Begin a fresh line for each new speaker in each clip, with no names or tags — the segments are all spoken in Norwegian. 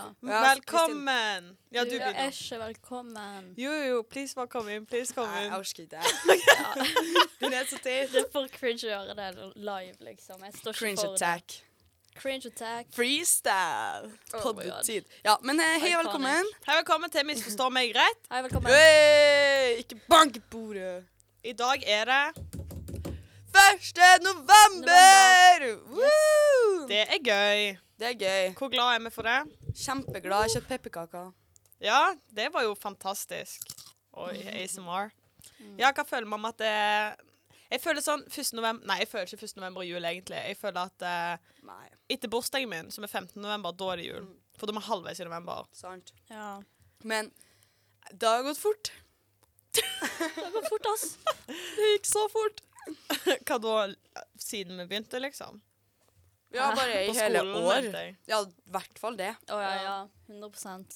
Ja,
Velkommen! Ja, du
Du er
begynner.
ikke velkommen.
Jo, jo, please welcome in. Please come
Nei,
in.
Jeg orker ikke
Ja.
Hun er så teit.
Det er for cringe å gjøre det live, liksom. Jeg står ikke
Cringe
for
attack.
det. Cringe attack.
Freestyle.
Oh my
Poddetid. Ja, men eh, hei og
Iconic.
velkommen.
Hei, velkommen til Misforstå meg rett.
Hei, velkommen.
Hey, ikke bank i bordet.
I dag er det
1. november! Woo!
Det er gøy.
Det er gøy.
Hvor glad er vi for det?
Kjempeglad. Kjøpt pepperkaker.
Ja, det var jo fantastisk. Oi, ASMR. Ja, hva føler man med at det Jeg føler sånn 1. november Nei, jeg føler ikke 1. november og jul, egentlig. Jeg føler at eh,
Nei,
etter bursdagen min, som er 15. november, da er det jul. For da er vi halvveis i november.
sant.
Ja.
Men det har gått fort.
Det går fort, ass.
Det gikk så fort.
hva da? Siden vi begynte, liksom?
Ja,
Hæ?
bare i
På
hele
skolen,
år.
mente jeg.
Ja, i hvert fall det.
Å ja, ja. 100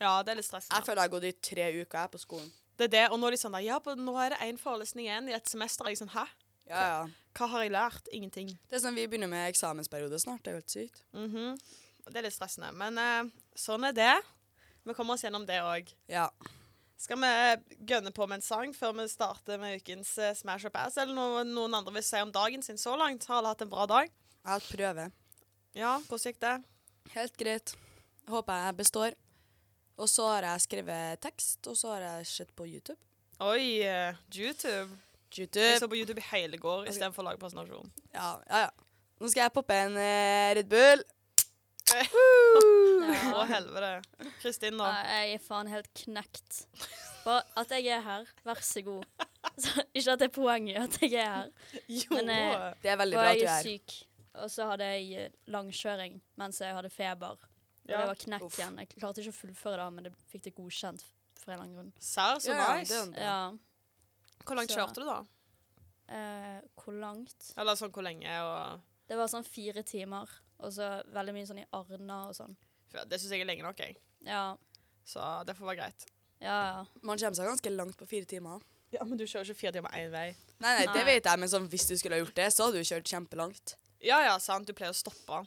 Ja, det er litt
Jeg
stressende.
føler jeg har gått i tre uker jeg, på skolen.
Det er det, og nå er de sånn der, ja, på- nå er det én forelesning igjen i et semester. Jeg er sånn, hæ?
Ja, ja.
Hva har jeg lært? Ingenting.
Det er sånn Vi begynner med eksamensperiode snart. Det er jo helt sykt.
Mhm. Og Det er litt stressende, men eh, sånn er det. Vi kommer oss gjennom det òg.
Ja.
Skal vi eh, gønne på med en sang før vi starter med ukens eh, Smash Up Ass? Eller noe noen andre vil si om dagen sin så langt? Har alle hatt en bra dag?
Jeg har hatt prøve.
Ja, hvordan gikk det?
Helt greit. Håper jeg består. Og så har jeg skrevet tekst, og så har jeg sett på YouTube.
Oi, eh, YouTube. Jeg
YouTube. Eh,
så på YouTube i hele går istedenfor å lage presentasjon.
Ja, ja, ja. Nå skal jeg poppe en eh, Red Bull.
Å,
Ja.
helvete. Kristin, da.
Nei, Jeg er faen helt knekt. Bare at jeg er her, vær så god. Så, ikke at det er poenget at jeg er her.
Jo.
Men, eh,
Det er veldig
Og
bra at
jeg
du
er
er her.
syk. Og så hadde jeg eh, langkjøring mens jeg hadde feber. Og
Ja.
det var knekk
Uff.
igjen. Jeg klarte ikke å fullføre det, men det fikk det godkjent for en eller annen grunn.
Serr, så
Ja, ja, det
nice.
er jo en bra.
Ja.
Hvor langt
Så-
kjørte du, da?
Eh, hvor langt?
Eller sånn hvor lenge? og...
Det var sånn fire timer, og så veldig mye sånn i Arna og sånn.
For Det syns jeg er lenge nok, jeg.
Ja,
Så det får være greit.
ja, ja.
Man kommer seg ganske langt på fire timer.
Ja, Men du kjører ikke fire timer én vei.
Nei, nei, det
Nei.
vet jeg, men sånn, hvis du skulle ha gjort det, så hadde du kjørt kjempelangt.
Ja ja, sant. Du pleier å stoppe.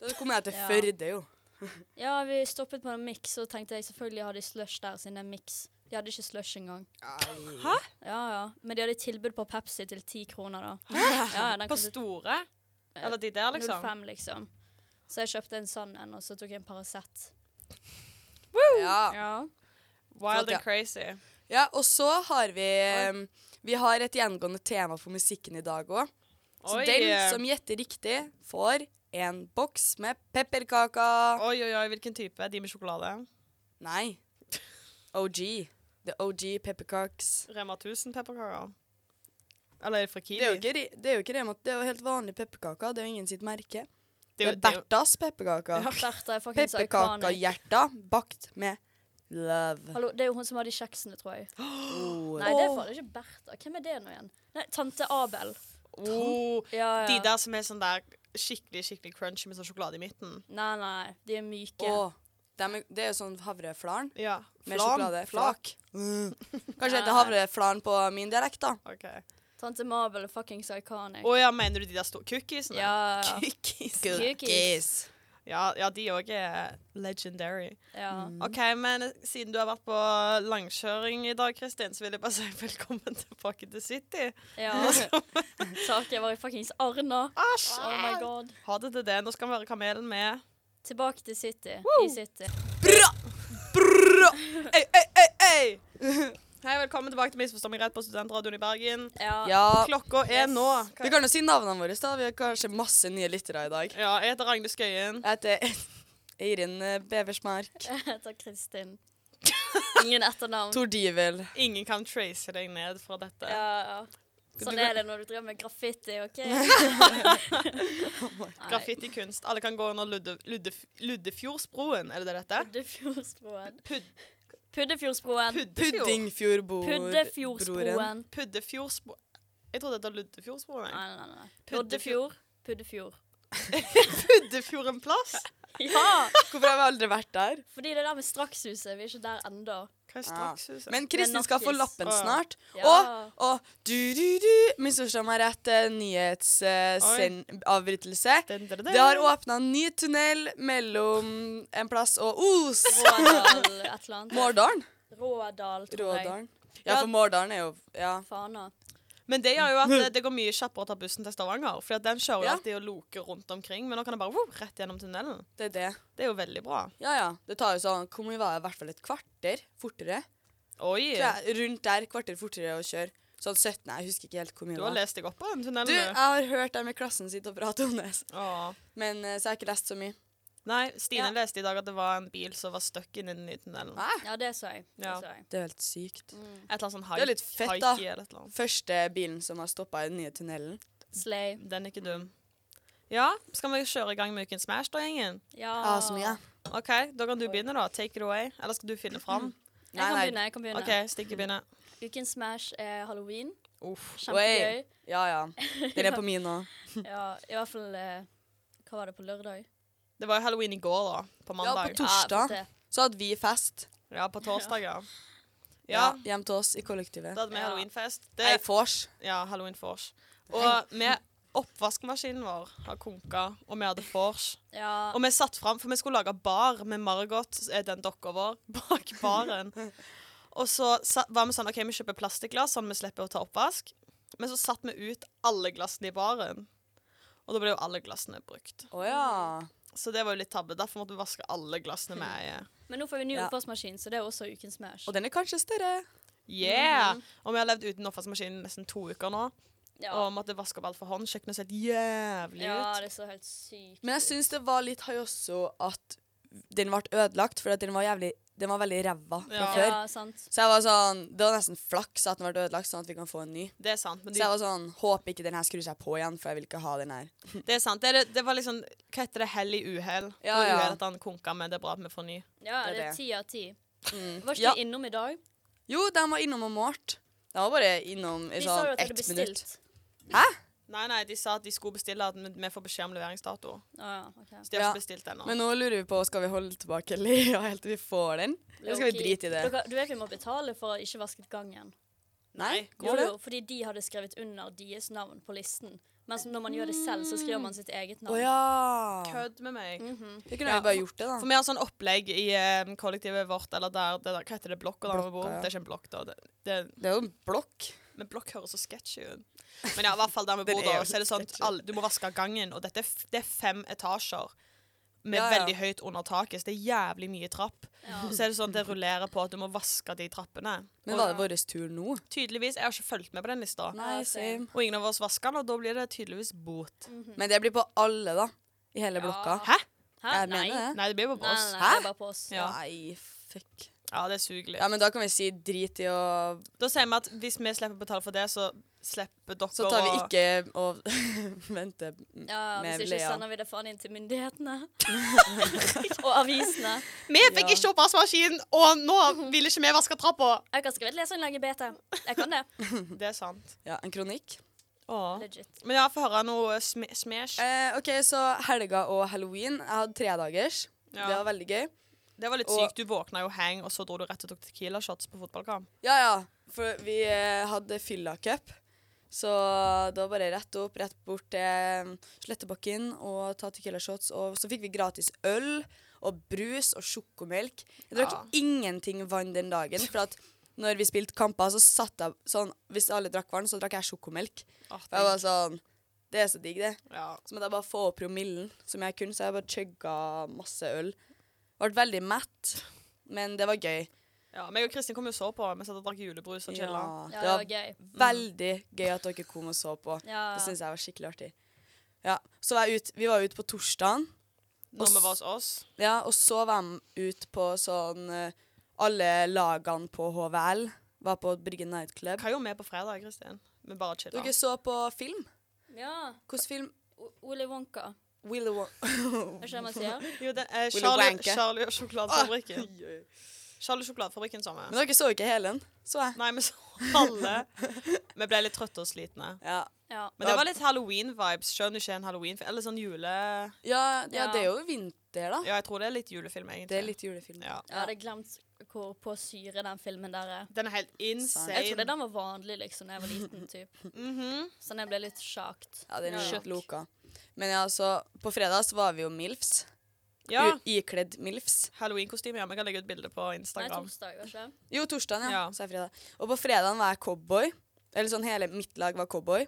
Da kommer jeg til
Ja.
Førde, jo.
Ja, vi stoppet på en mix, og tenkte jeg selvfølgelig har de slush der, siden det er mix. De hadde ikke slush engang.
Hæ?
Ja, ja. Men de hadde tilbud på Pepsi til ti kroner, da. Ja, ja, den
På
kostet
store? Eller de der, liksom?
05, liksom. Så jeg kjøpte en sånn en, og så tok jeg en Paracet.
Ja.
Ja.
Wild
Flott, ja.
and crazy.
ja. Og så har vi eh, Vi har et gjengående tema for musikken i dag òg. Så
Oi. eh,
den som gjetter riktig, får en boks med pepperkaker.
oi, oi, oi, hvilken type? De med sjokolade?
Nei. OG. The OG pepperkaks.
Rema 1000 pepperkaker? Eller er det fra Kiwi?
Det er jo ikke, ri- det er jo ikke Rema, det er jo helt vanlige pepperkaker. Det er jo ingen sitt merke. Det er
jo- det er jo-
Berthas pepperkaker.
Bertha er fuckings iconic.
Pepperkakehjerter bakt med love.
Hallo, det er jo hun som har de kjeksene, tror jeg.
Oh.
Nei, det er faen ikke Bertha. Hvem er det nå igjen? Nei, tante Abel.
oh,
Ja, ja.
De der som er sånn der skikkelig skikkelig crunchy med sånn sjokolade i midten.
Nei, nei, de er myke.
Åh, dem er- det er jo sånn havreflaren
Ja.
med
Flan.
sjokolade.
Flak.
Flak. Mm. Kanskje det er havreflaren på min dialekt, da.
OK. Å
Tante Mabel er fuckings iconic.
ja, mener du de der store cookiesene?
ja,
Cookies.
Cookies.
Ja, ja, de òg er legendary.
ja.
OK, men siden du har vært på langkjøring i dag, Kristin, så vil jeg bare si velkommen tilbake til City.
ja. Takk, jeg var i fuckings Arna.
Æsj!
Oh my god.
Ha det til det. Nå skal vi være Kamelen med.
Tilbake til City. I City.
Bra! Bra!
Ei, ei, ei, ei! Hei, velkommen tilbake til Misforstå meg rett på Studentradioen i Bergen.
Ja.
Ja.
Klokka er
Yes.
nå.
Vi kan jo si navnene våre, da. Vi har kanskje masse nye lyttere i dag.
Ja, jeg heter Ragnhild Skøyen.
Jeg heter Eirin eh, Beversmark.
Jeg heter Kristin. Ingen etternavn.
Tor Divel.
Ingen kan trace deg ned fra dette.
Ja, ja. Sånn er det når du Oh driver med graffiti, OK? Nei,
Graffitikunst. Alle kan gå under Ludde, Ludde, Luddefjordsbroen, er det det dette?
Puddefjordsbroen.
Pud,
Puddefjordsbroen.
Puddefjord.
Puddingfjordbor. broren.
Puddefjordsbroen.
Puddefjordsbro... Jeg trodde det het Luddefjordsbroen. jeg.
Nei, nei, nei. Puddefjord. Puddefjord.
Puddefjord en plass?
Ja!
Hvorfor har vi aldri vært der?
Fordi det der med Strakshuset, vi er ikke der ennå.
Hva er
Ja.
strakshuset?
Men Kristin skal få
Narkis.
lappen
Å, ja.
snart.
Ja.
Og du-du-du Misforstå meg rett,
Oi.
nyhetsavbrytelse.
Dun, dun, dun, dun.
eh, Det har åpna en ny tunnel mellom en plass og Os.
Rådal, et eller annet.
Mårdalen.
Rådal, tror jeg.
Rådalen. Ja, for Mårdalen er jo Ja.
Fana.
Men det gjør jo at eh, det, det går mye kjappere å ta bussen til Stavanger. For den kjører jo
Ja.
alltid og loker rundt omkring. Men nå kan den bare wow, rett gjennom tunnelen.
Det er det.
Det er jo veldig bra.
Ja, ja. Det tar jo sånn Hvor mye var det? I hvert fall et kvarter fortere.
Oi!
Tror jeg, rundt der, kvarter fortere å kjøre. Sånn 17 Jeg husker ikke helt hvor mye
Du
det
har
var.
lest deg opp på den
Du, jeg
tunnelen,
har hørt dem i klassen sitt og prate om det,
du. Åh.
men eh, så har jeg ikke lest så mye.
Nei, Stine
Ja.
leste i dag at det var en bil som var stuck inni den nye tunnelen.
Hæ?
Ja, det så jeg. Det
Ja.
så jeg.
Det er jo helt sykt.
Et eller annet sånn
Det er
haik-
litt fett,
haiki
da.
eller et eller annet.
Mm. Første bilen som har stoppa i den nye tunnelen.
Slay.
Den er ikke dum. Ja, skal vi kjøre i gang med Ukens Smash, da, gjengen?
Ja.
Ja, Ah, så mye.
OK, da kan du begynne, da. Take it away. Eller skal du finne fram?
Jeg kan begynne. jeg kan
Mm,
begynne.
OK, Stikki begynner.
Ukens Smash er halloween.
Uff.
Kjempegøy.
Ja, ja. Den er på min nå.
Ja, I hvert fall eh, Hva var det på lørdag?
Det var jo halloween i går, da. På
Ja, på
mandag.
to- Torsdag.
Ja,
Så hadde vi fest
Ja, på torsdag, ja. Ja,
hjem til oss i kollektivet.
da hadde vi
Ja.
halloweenfest.
Nei,
Det,
vors.
ja, halloween vors. Og med oppvaskmaskinen vår har konka, og vi hadde vors.
ja,
Og vi satt fram, for vi skulle lage bar med Margot, eh, den dokka vår, bak baren. Og så sa- var vi sånn OK, vi kjøper plastglass, sånn vi slipper å ta oppvask. Men så satt vi ut alle glassene i baren. Og da ble jo alle glassene brukt.
Å ja.
Så det var jo litt tabbe. Derfor måtte vi vaske alle glassene med eie.
Men nå får vi ny
Ja.
oppvaskmaskin, så det er også ukens Smash.
Og den er kanskje større.
Yeah! Og vi har levd uten oppvaskmaskin i nesten to uker nå.
ja.
Og måtte vaske opp alt for hånd. Kjøkkenet ser helt jævlig
ja,
ut.
det så helt sykt
Men jeg syns det var litt high også at den ble ødelagt, for at den var jævlig Den var veldig ræva fra
Ja.
før.
Ja, sant.
Så jeg var sånn Det var nesten flaks at den ble ødelagt, sånn at vi kan få en ny.
Det er sant. Men
Så
de,
jeg var sånn Håper ikke den her skrur seg på igjen, for jeg vil ikke ha den her.
det er sant. Det, er, det var liksom Hva heter det? Hell i uhell. Ja,
Ja,
ja.
ja.
Uhell at han konka, men det er bra at vi får ny.
Ja,
Det er
det er
det.
ti av ti.
Mm.
Var ikke
Ja.
de innom i dag?
Jo, de var innom og målt. De var bare innom i
De sa
sånn
jo at de hadde
ett minutt.
bestilt.
Nei, nei, de sa at de skulle bestille at vi- vi får beskjed om leveringsdato.
Å ja, ok.
Så de har
Ja,
ikke bestilt ennå.
Men nå lurer vi på skal vi holde tilbake Lea helt til vi får den. Eller skal vi
Low-key.
drite i det?
Dere, du vet vi må betale for å ikke vasket gangen.
Nei,
Jo,
går det?
jo, fordi de hadde skrevet under deres navn på listen. Mens når man gjør det selv, så skriver man sitt eget
Å
navn. Mhm.
ja.
Kødd med meg.
Mm.
Det kunne
Ja,
vi bare gjort det,
For
da.
vi har sånn opplegg i eh, kollektivet vårt, eller der, det der Hva heter det? Blokka der vi
Blokka,
bor?
ja.
Det er ikke en blokk, da. Det, det,
Det er jo en blokk.
men blokk høres så sketchy ut. Men ja, i hvert fall der vi
Den
bor,
er
da.
jo
Så er det sånn at
sketchy.
alle, du må vaske gangen, og dette er, f det er fem etasjer. Med
Ja, ja.
veldig høyt under taket, så det er jævlig mye trapp.
Ja.
altså,
Så er det sånn at det rullerer på at du må vaske de trappene.
Men var det vår tur nå?
Tydeligvis, Jeg har ikke fulgt med på den lista.
Nei,
Ja,
same.
same.
Og ingen av oss vasker den, og da blir det tydeligvis bot.
Men det blir på alle, da. I hele
Ja.
blokka.
Hæ?
Hæ?
Jeg
Nei.
mener det.
Nei, det blir jo på
Nei,
oss.
nei,
Hæ?
det er bare på oss.
Ja.
Nei, fuck.
Ja, det suger litt.
Ja, men da kan vi si drit i å
Da sier vi at hvis vi slipper å betale for det, så slipper dere
Så tar vi
å-
ikke og venter
Ja,
med
hvis ikke
Lea.
sender vi det faen inn til myndighetene. og avisene.
Vi fikk
Ja.
ikke oppvaskmaskin, og nå vil ikke vi vaske trappa!
Jeg kan skrive et leserinnlegg i BT. Jeg kan det.
Det er sant.
Ja, en kronikk.
Åh.
Legit.
Men ja, få høre noe sm smash.
Eh, OK, så helga og halloween. Jeg hadde tredagers.
Ja.
Det var veldig gøy.
Det var litt
og-
sykt. Du våkna jo hang, og så dro du rett og tok tequila shots på fotballkamp.
Ja, ja. For vi eh, hadde fylla-cup. Så det var bare rett opp, rett bort til Slettebakken og ta Tequila shots. Og så fikk vi gratis øl og brus og sjokomelk. Jeg drakk
Ja.
ingenting vann den dagen. For at når vi spilte kamper, så satt jeg sånn Hvis alle drakk vann, så drakk jeg sjokomelk.
Åh,
For jeg var sånn Det er så digg, det.
Ah, ja.
Så måtte jeg bare få opp promillen som jeg kunne, så jeg bare chugga masse øl. Ble veldig mett, men det var gøy.
ja, meg og Kristin kom jo og så på. Vi satt og drakk julebrus og chilla.
Ja, det var gøy.
Mm.
Veldig gøy at dere kom og så på.
Ja.
Det syns jeg var skikkelig artig. Ja, så var jeg ut, Vi var ute på torsdagen,
Når vi var hos oss.
ja, og så var de ute på sånn eh, Alle lagene på HVL var på Bryggen Nightclub.
Hva gjorde vi på fredag, Kristin? Vi bare chilla.
Dere så på film.
Ja.
Hvilken film?
O- Willy Wonka.
Willy Won...
Er ikke det man sier?
Jo, det, eh,
Willy
Charlie,
Wanker.
Charlie og
Ah.
sjokoladefabrikken. Charlie og sjokoladefabrikken sammen.
Men dere så ikke hele den, så jeg.
Nei, vi så alle. Vi ble litt trøtte og slitne.
Ja,
Ja.
Men det var litt halloween-vibes. Skjønner ikke en halloween Eller sånn jule...
Ja, ja,
Ja.
det er jo vinter, da.
Ja, jeg tror det er litt julefilm, egentlig.
Det er litt julefilm.
ja.
Jeg hadde glemt hvor på syre den filmen der er.
Den er helt
Sånn.
insane.
Jeg trodde den var vanlig liksom da jeg var liten. Typ.
Mhm.
Sånn jeg ble litt sjakt.
Ja, den er
Ja.
litt loka. Men ja, altså, på fredag så var vi jo MILFs.
Ja.
U- Ikledd MILFs.
Halloween-kostyme. Ja, vi kan legge ut bilde på
Nei,
Instagram.
torsdag, var ikke det?
Jo, torsdagen, ja.
Ja.
Så er fredag. Og på fredagen var jeg cowboy. Eller sånn hele mitt lag var cowboy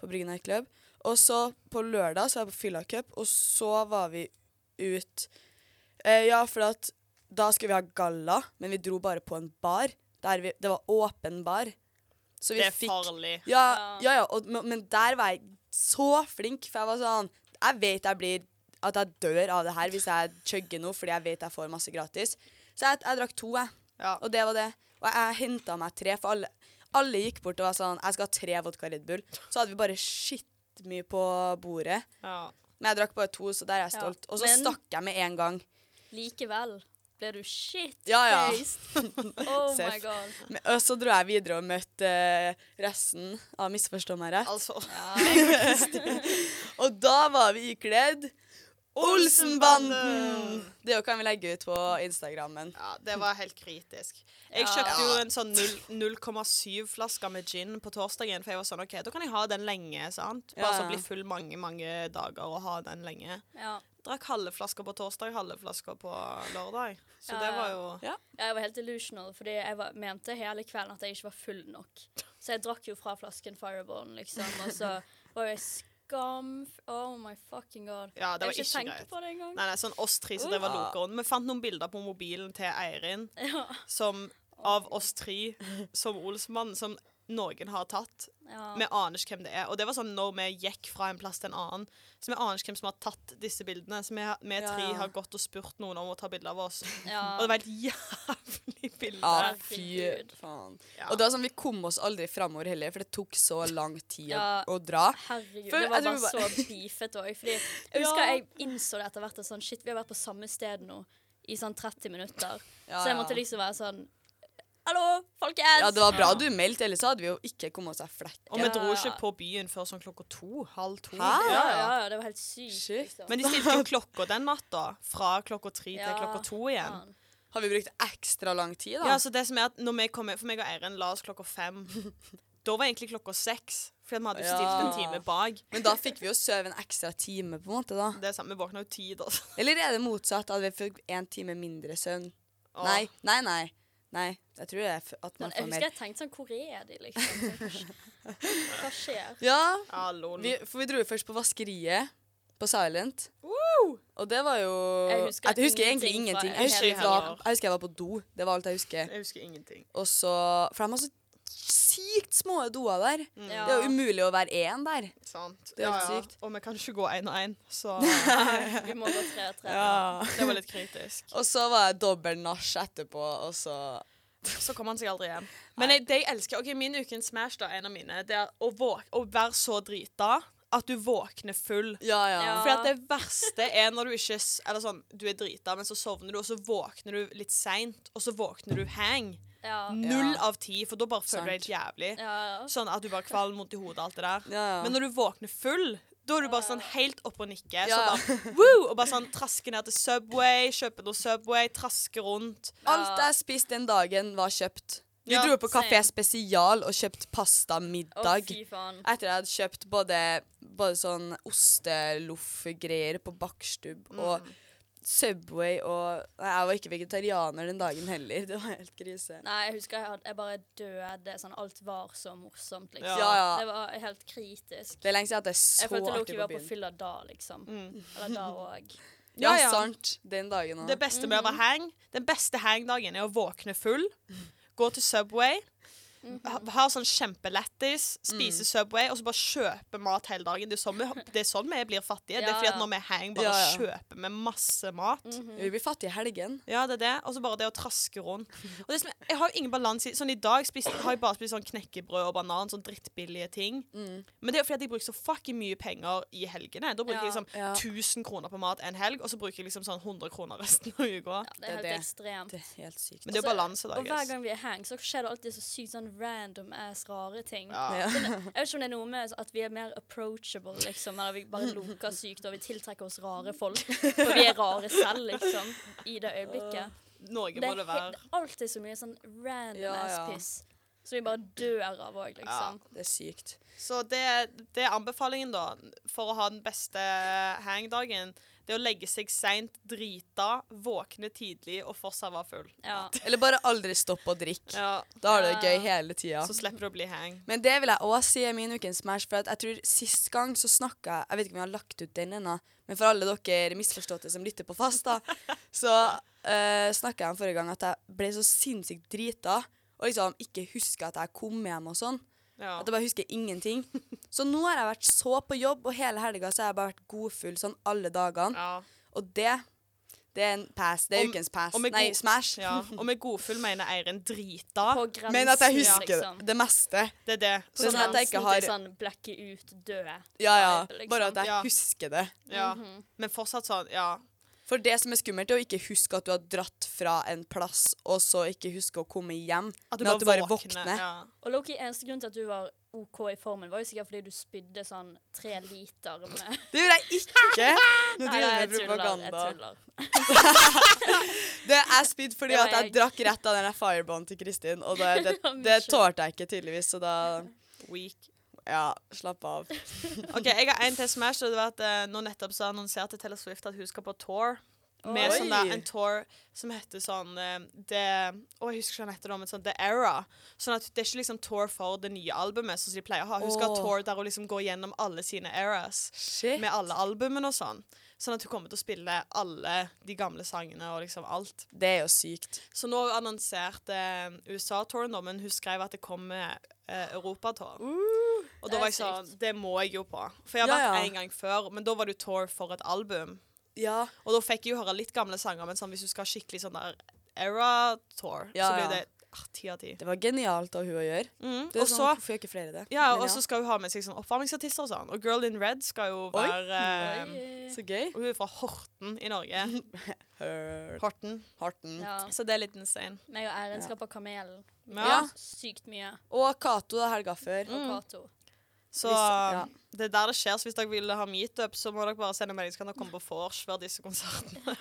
på Bryggen Nightclub. Og så på lørdag så var jeg på Fylla Cup, og så var vi ut eh, Ja, for at da skulle vi ha galla, men vi dro bare på en bar. Der vi, det var åpen bar. Så vi
Det er
fikk
farlig.
Ja, ja, ja og, men- men der var jeg så flink, for jeg var sånn Jeg vet jeg blir at jeg dør av det her hvis jeg chugger noe fordi jeg vet jeg får masse gratis. Så jeg, jeg drakk to, jeg.
Ja.
Og det var det. Og jeg henta meg tre, for alle, alle gikk bort og var sånn Jeg skal ha tre vodka Red Bull. Så hadde vi bare shit mye på bordet.
Ja.
Men jeg drakk bare to, så der er jeg
Ja.
stolt. Og så
Men-
stakk jeg med en gang.
Likevel ble du shit
Ja, ja.
faced. Oh my
Seff.
god.
Men, og så dro jeg videre og møtte eh, resten av Misforstå meg rett.
Altså
Og da var vi ikledd Olsenbanden! Det kan vi legge ut på Instagrammen.
Ja, det var helt kritisk. Jeg
Ja.
kjøpte jo en sånn null- 0,7 flasker med gin på torsdagen, for jeg var sånn OK, da kan jeg ha den lenge, sant? Bare
Ja,
så
ja.
bli full mange, mange dager og ha den lenge.
Ja.
Drakk halve flasker på torsdag, halve flasker på lørdag. Så
Ja, ja.
det var jo
Jeg var helt delusional, fordi jeg var, mente hele kvelden at jeg ikke var full nok. Så jeg drakk jo fra flasken Fireballen, liksom, og så var jeg skam... Oh my fucking god.
Ja,
jeg
det var
har ikke
ikke
tenkt
greit.
på det engang.
Nei, nei, sånn oss tre som
Uh.
drev og loka rundt. Vi fant noen bilder på mobilen til Eirin
Ja,
som av oss tre som Olsmann som noen har tatt.
ja.
Vi aner ikke hvem det er. Og det var sånn når vi gikk fra en plass til en annen. Så vi aner ikke hvem som har tatt disse bildene. Så vi, har- vi
Ja,
tre
ja.
har gått og spurt noen om å ta bilder av oss. Og det
ja.
var et jævlig bilde.
Ja,
Herregud.
fy faen.
Ja.
Og det var sånn, vi kom oss aldri framover heller, for det tok så lang tid å,
Ja.
å dra.
Herregud,
For
det
jeg
var
tror
bare så beefet òg. Fordi jeg husker
Ja.
jeg innså det etter hvert. at Sånn, shit, vi har vært på samme sted nå i sånn 30 minutter.
Ja,
Så jeg
ja.
måtte liksom være sånn Hallo, folkens!
Ja, det var bra du meldte, ellers så hadde vi jo ikke kommet oss av
Og
flekken.
vi
Ja.
dro ikke på byen før sånn klokka to. Halv to.
Hæ?
ja,
Ja, ja.
ja, det var helt sykt.
Shit.
Liksom.
Men de stilte jo klokka den natta. Fra klokka tre
Ja,
til klokka to igjen.
faen.
Har vi brukt ekstra lang tid, da?
Ja, så det som er at når vi kom, For meg og Eirin la oss klokka fem. Da var egentlig klokka seks, fordi vi hadde jo stilt en
Ja.
time bak.
Men da fikk vi jo sove en ekstra time, på en måte, da.
Det er sant, Vi våkna jo ti, da.
Eller er det motsatt, at vi fikk en time mindre søvn?
Åh.
Nei, nei, nei. Nei, jeg tror det er f- at
Men
man
jeg
får
husker
mer.
jeg tenkte sånn Hvor er de, liksom? Sånn, hva- Hva skjer?
Ja,
Ja, lol.
Vi, for vi dro jo først på vaskeriet på Silent. Og det var jo
Jeg husker
jeg husker egentlig
ingenting fra
ingenting. Jeg husker,
hele
jeg, var,
helgen.
jeg husker jeg var på do. Det var alt jeg husker.
Jeg husker ingenting.
Og så For de har så sykt små doer der.
Ja.
Det er jo umulig å være én der.
Sant.
Det er helt sykt.
Og vi kan ikke gå én og én, så
Vi må gå tre og tre.
det var litt kritisk.
Og så var jeg dobbel nach etterpå, og så
Så kom han seg aldri hjem. Men jeg, det jeg elsker OK, min ukens smash, da, en av mine, det er å, våk å være så drita at du våkner full.
Ja, ja.
Ja.
Fordi at det verste er når du ikke s- Eller sånn, du er drita, men så sovner du, og så våkner du litt seint, og så våkner du hang.
Ja.
Null
Ja.
av ti, for da bare føler du deg helt jævlig.
Ja.
Sånn at du bare kvalm, vondt i hodet, alt det der.
Ja, ja.
Men når du våkner full, da er du bare sånn helt oppe og nikker.
Ja.
Så bare, woo, og bare sånn trasker ned til Subway, kjøper noe Subway, trasker rundt.
Alt jeg spiste den dagen, var kjøpt. Vi
Ja,
dro på Kafé
same.
Spesial og kjøpte
Å,
pastamiddag.
fy faen.
Etter jeg hadde kjøpt både, både sånn osteloff-greier på bakstubb
Mm.
og Subway og Nei, jeg var ikke vegetarianer den dagen heller. Det var helt krise.
Nei, jeg husker jeg, hadde, jeg bare døde. Sånn, alt var så morsomt,
Ja,
liksom.
ja.
Det var helt kritisk.
Det er lenge siden jeg har hatt det så
Jeg følte
artig
Loki
på
var på
byen.
fylla da, liksom.
Mm.
Eller da òg.
Ja,
Ja, ja.
sant. Den dagen
Det
òg.
beste med å være hang, den beste hangdagen er å våkne full, gå til Subway, ha, ha sånn kjempelættis, spise
Mm.
Subway, og så bare kjøpe mat hele dagen. Det er sånn vi, det er sånn vi blir fattige. Det er
Ja,
fordi at
ja.
når vi er hang, bare
Ja, ja.
kjøper vi masse mat.
Mhm.
Vi blir fattige i helgen.
Ja, det er det. Og så bare det å traske rundt. Og det som, er- jeg har jo ingen balanse i Sånn i dag spiste, har jeg bare spist sånn knekkebrød og banan, sånn drittbillige ting.
Mm.
Men det er jo fordi at jeg bruker så fucking mye penger i helgene. Da bruker jeg
Ja.
liksom
Ja.
1000 kroner på mat en helg, og så bruker jeg liksom sånn 100 kroner resten av uka.
Det er
det.
helt ekstremt.
Det er helt sykt.
Men det er
Altså,
balanse, da.
Og hver
guys.
gang vi er hang, så skjer det alltid så sykt sånn random ass rare ting.
Ja.
Jeg vet ikke om det er noe med at vi er mer approachable, liksom. Eller vi bare loker sykt, og vi tiltrekker oss rare folk. For vi er rare selv, liksom. I det øyeblikket.
Noe
Det
må
er,
det
helt,
være.
det er alltid så mye sånn random
Ja,
ass
ja.
piss. Som vi bare dør av òg, liksom.
Det er sykt.
Så det, det er anbefalingen, da, for å ha den beste hangdagen. Det er å legge seg seint, drita, våkne tidlig og fortsatt være full.
Ja.
Eller bare aldri stopp å drikke.
Ja,
Da har du det
Ja.
gøy hele tida.
Så slipper du å bli hang.
Men det vil jeg òg si er min ukens smash, for at jeg tror sist gang så snakka jeg Jeg vet ikke om jeg har lagt ut den ennå, men for alle dere misforståtte som lytter på fast, da, så uh, snakka jeg om forrige gang at jeg ble så sinnssykt drita og liksom ikke huska at jeg kom hjem og sånn.
Ja.
At jeg bare husker ingenting. Så nå har jeg vært så på jobb, og hele helga så har jeg bare vært godfull sånn alle dagene.
Ja.
Og det det er en pass. Det er
Om-
ukens pass.
om jeg
Nei,
god-
smash.
ja. Og med godfull mener Eirin drita.
På grensen,
Men at jeg
ja,
husker
liksom.
det meste.
Det er det.
Så
Så,
sånn at jeg ikke
Grensen
har-
til sånn blekke ut, dø.
Ja, ja.
Liksom.
Bare at jeg
Ja.
husker det.
ja. Men fortsatt sånn, ja.
For det som er skummelt, er å ikke huske at du har dratt fra en plass, og så ikke huske å komme hjem. men at du bare våkner.
Ja.
Og Loki, eneste grunn til at du var OK i formen, var jo sikkert fordi du spydde sånn tre liter med
Det gjorde jeg ikke! Nå
Nei, jeg
driver jeg med
tuller. Jeg
propaganda.
tuller.
Det er spydd fordi
Det var
at jeg
jeg.
drakk rett av den der firebånden til Kristin, og det, det,
Ja, men
det
skjønner.
tålte jeg ikke tydeligvis, så da
Weak.
Ja, slapp av.
OK, jeg har en til smash. og Det var at eh, nå nettopp så annonserte Taylor Swift at hun skal på tour. Med
Oi.
sånn der, en tour som heter sånn eh, The Å, jeg husker ikke hva den heter, nå, men sånn The Era. Sånn at det er ikke liksom tour for det nye albumet, sånn som de pleier å ha. Hun skal ha
Åh.
tour der hun liksom går gjennom alle sine eras.
Shit.
Med alle albumene og sånn. Sånn at hun kommer til å spille alle de gamle sangene og liksom alt.
Det er jo sykt.
Så nå annonserte eh, USA-touren, da, men hun skrev at det kom eh, Europatour.
Mm.
og
det
da
er
var jeg
sykt.
sånn Det må jeg jo på. For jeg har
Ja,
vært
ja.
en gang før, men da var det jo tour for et album.
Ja.
Og da fikk jeg jo høre litt gamle sanger, men sånn, hvis du skal ha skikkelig sånn der era-tour,
Ja,
så blir
ja.
jo det ah, ti av ti.
Det var genialt av hun å gjøre.
Mm.
Det er
Og så
sånn, Hvorfor gjør ikke flere det?
ja,
Men
og så skal hun ha med seg sånn oppvarmingsartister og sånn. Og Girl in Red skal jo
Oi.
være eh,
Oi.
Så gøy.
Og hun er fra Horten i Norge.
Hør-
Horten.
Horten.
Ja.
Så det er litt insane.
Meg og
Ja.
Eirin skal på Kamelen.
Ja. Mm.
Sykt mye.
Og Cato da, helga før.
Og Cato.
Så
Hvis- ja.
det er der det skjer. Så hvis dere vil ha meetup, så må dere bare sende melding, så kan dere komme på vors før disse konsertene.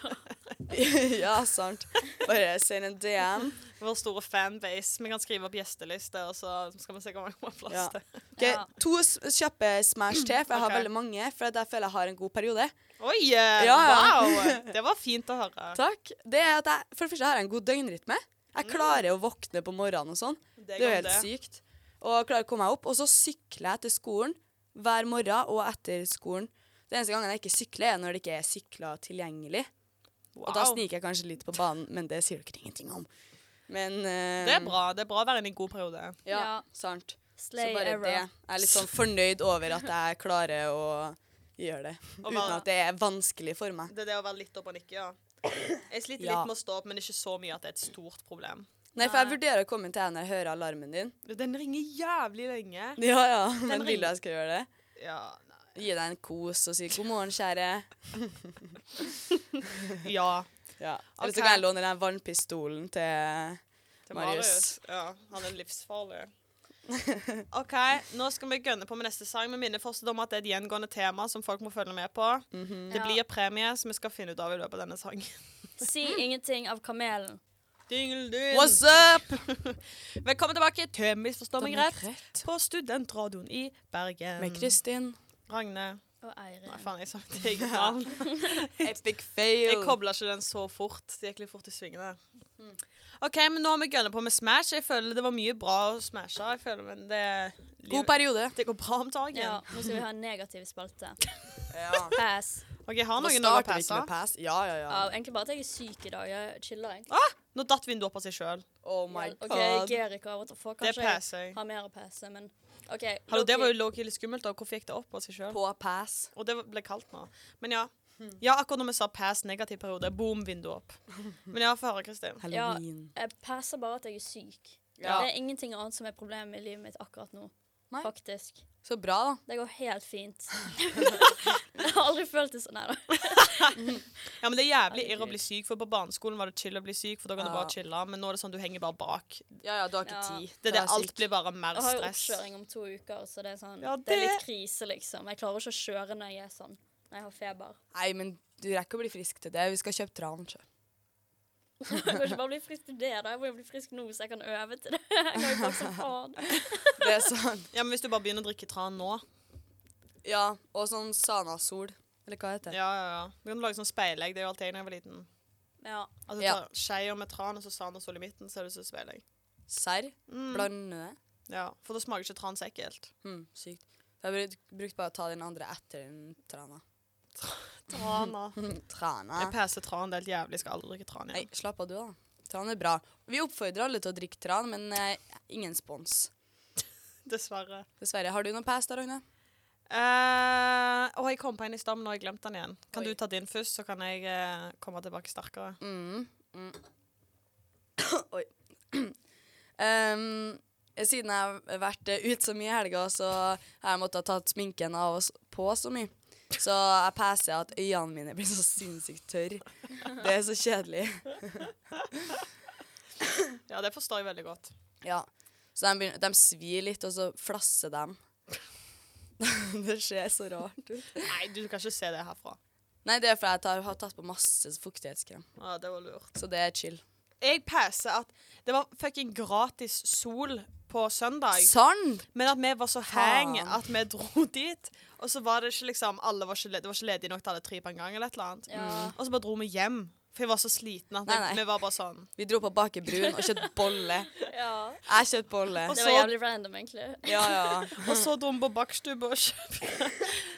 ja, sant. Bare send en DM.
Vår store fanbase. Vi kan skrive opp gjesteliste, og så skal vi se hvor mange vi har plass
Ja.
til.
Ok,
Ja.
To s- kjappe smash til, for jeg har
Ok.
veldig mange. For at jeg føler jeg har en god periode.
Oi! eh,
Ja, ja.
Wow! Det var fint å høre.
Takk. Det er at jeg, for det første har jeg en god døgnrytme. Jeg klarer å våkne på morgenen og sånn. Det er jo helt sykt. Og jeg klarer å komme meg opp. Og så sykler jeg til skolen hver morgen og etter skolen. Det eneste gangen jeg ikke sykler, er når det ikke er sykler tilgjengelig.
Wow.
Og da sniker jeg kanskje litt på banen, men det sier dere ingenting om. Men eh,
Det er bra. Det er bra å være inne i en god periode.
Ja,
Ja.
sant. Så
Slay
bare
Error.
det. Jeg er litt sånn fornøyd over at jeg klarer å gjøre det.
Og
Uten
bare-
at det er vanskelig for meg.
Det er det å være litt opp og nikke, ja. Jeg sliter
Ja.
litt med å stå opp, men ikke så mye at det er et stort problem.
Nei, for jeg vurderer å komme til deg når jeg hører alarmen din.
Den ringer jævlig lenge.
Ja, ja, men vil du
ringer.
jeg skal gjøre det?
Ja, nei.
Gi deg en kos og si 'god morgen, kjære'.
ja.
Ja. Eller
Ok.
så kan jeg låne den vannpistolen til
Til Marius.
Marius.
Ja, han er livsfarlig. OK, nå skal vi gønne på med neste sang. Vi minner fortsatt om at det er et gjengående tema som folk må følge med på.
Mhm.
Det
Ja.
blir premie som vi skal finne ut av i løpet av denne sangen.
Si ingenting av Kamelen.
Dingeldun.
What's up?
Velkommen tilbake til Misforstå meg rett
Rett.
på Studentradioen i Bergen.
Med Kristin.
Ragne
Og Eirin.
Nei, faen, jeg sa mitt eget navn.
Epic fail.
Jeg kobla ikke den så fort. Det gikk litt fort i svingene. OK, men nå har vi gønna på med Smash. Jeg føler det var mye bra å smashe. Jeg føler, men det,
God periode.
det går bra om dagen.
Ja, nå skal vi ha en negativ spalte.
Ja.
Pass.
Ok, jeg har
Nå
noen å
starter vi ikke
passe.
med pass. Ja, ja, ja.
Ja, egentlig bare at jeg er syk i dag. Jeg chiller, jeg.
Nå datt vinduet opp av seg sjøl.
Oh my
OK,
god.
Gerika, what the fuck?
Det
Kanskje jeg
passer jeg.
har mer å passe, men OK.
Hallo, det
Loki.
var jo lowkey litt skummelt. da. Hvorfor gikk det opp av seg sjøl?
På pass.
Og det ble kaldt nå. Men ja. Ja, akkurat når vi sa pass negativ periode, boom, vinduet opp. Men ja, få høre, Kristin.
Halloween.
Jeg passer bare at jeg er syk.
Ja.
Det er ingenting annet som er problemet i livet mitt akkurat nå.
Nei.
Faktisk.
Så bra, da.
Det går helt fint. jeg har aldri følt det sånn. Nei da.
Ja, men Det er jævlig irr å
Herregud.
bli syk, for på barneskolen var det chill å bli syk, for da kan du
Ja.
bare chille, men nå er det sånn du henger bare bak.
Ja, ja, du har ikke
Ja.
tid.
Det er det,
er
alt
sykt.
blir bare mer
Jeg har jo
stress.
oppkjøring om to uker, så det er, sånn,
Ja,
det er
det-
litt krise, liksom. Jeg klarer ikke å kjøre når jeg er sånn. Når jeg har feber.
Nei, men du rekker å bli frisk til det. Vi skal kjøpe tran. sjø.
Jeg kan ikke bare bli frisk til det, da. Jeg må jo bli frisk nå, så jeg kan øve til det. Jeg kan jo bare som faen.
Det er sånn.
Ja, men Hvis du bare begynner å drikke tran nå
Ja, og sånn sanasol. Eller hva heter det?
Ja, ja, ja. Du kan lage sånn speilegg. Det er jo alt jeg da jeg var liten.
Ja.
Altså,
Ja.
ta Skeier med tran og så sand og sol i midten, så er det så speilegg.
Serr?
Mm.
Blande det?
Ja, for da smaker ikke tran så ekkelt.
Hm, sykt. Jeg har brukt- brukt bare å ta den andre etter den trana.
Trana.
Trana.
Jeg passer tran, det er helt jævlig. Jeg skal aldri drikke tran
Nei,
igjen.
slapp av du, da. Tran er bra. Vi oppfordrer alle til å drikke tran, men eh, ingen spons.
Dessverre.
Dessverre. Har du noen pass da, Ragne?
Eh, å, jeg kom på en i stammen, og jeg glemte den igjen. Kan
Oi.
du ta din først, så kan jeg eh, komme tilbake sterkere?
Mm. Mm. Oi. Em, siden jeg har vært eh, ute så mye i helga, så har jeg måttet ha tatt sminken av oss på så mye. Så jeg passer at øynene mine blir så sinnssykt tørre. Det er så kjedelig.
Ja, det forstår jeg veldig godt.
Ja. Så de, begynner, de svir litt, og så flasser de. det ser så rart ut.
Nei, du kan ikke se det herfra.
Nei, det er fordi jeg tar, har tatt på masse fuktighetskrem.
Ja, det var lurt.
Så det er chill.
Jeg passer at det var fucking gratis sol på søndag.
Sann!
Men at vi var så hang
Faen.
at vi dro dit. Og så var det ikke liksom alle var ikke, le- Det var ikke ledig nok til alle tre på en gang. eller et eller annet
ja.
Og så bare dro vi hjem. For jeg var så sliten at
Nei, nei.
vi, vi var bare sånn.
Vi dro på Baker Brun og kjøpte bolle.
ja.
Jeg kjøpte bolle.
Og
Det
så-
var jævlig random, egentlig.
Ja, ja.
Og så dro vi på bakstubbe og kjøpte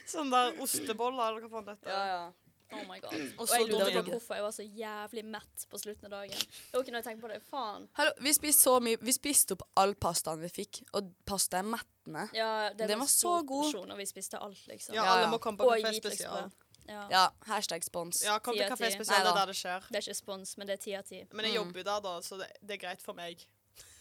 sånn der osteboller eller hva faen dette
ja,
er.
ja.
Oh my god. Og,
så
jeg
dårlig.
lurte på hvorfor jeg var så jævlig mett på slutten av dagen. Det var ikke noe jeg tenkte på det. Faen.
Hallo, vi spiste så mye Vi spiste opp all pastaen vi fikk, og pasta er mettende.
Ja, det
Den var
var
så
stor
god.
porsjon, og vi spiste alt, liksom.
Ja,
Ja,
alle
ja.
må komme på
Og
Kafé
hvit
Spesial.
liksom. Ja.
Ja, hashtag spons.
Ja, kom
Ti
til
av
Kafé
ti.
Spesial, det
Nei
er
da.
der det skjer.
Det er ikke spons, men det er ti av ti.
Men jeg jobber jo der, da, så det, det er greit for meg.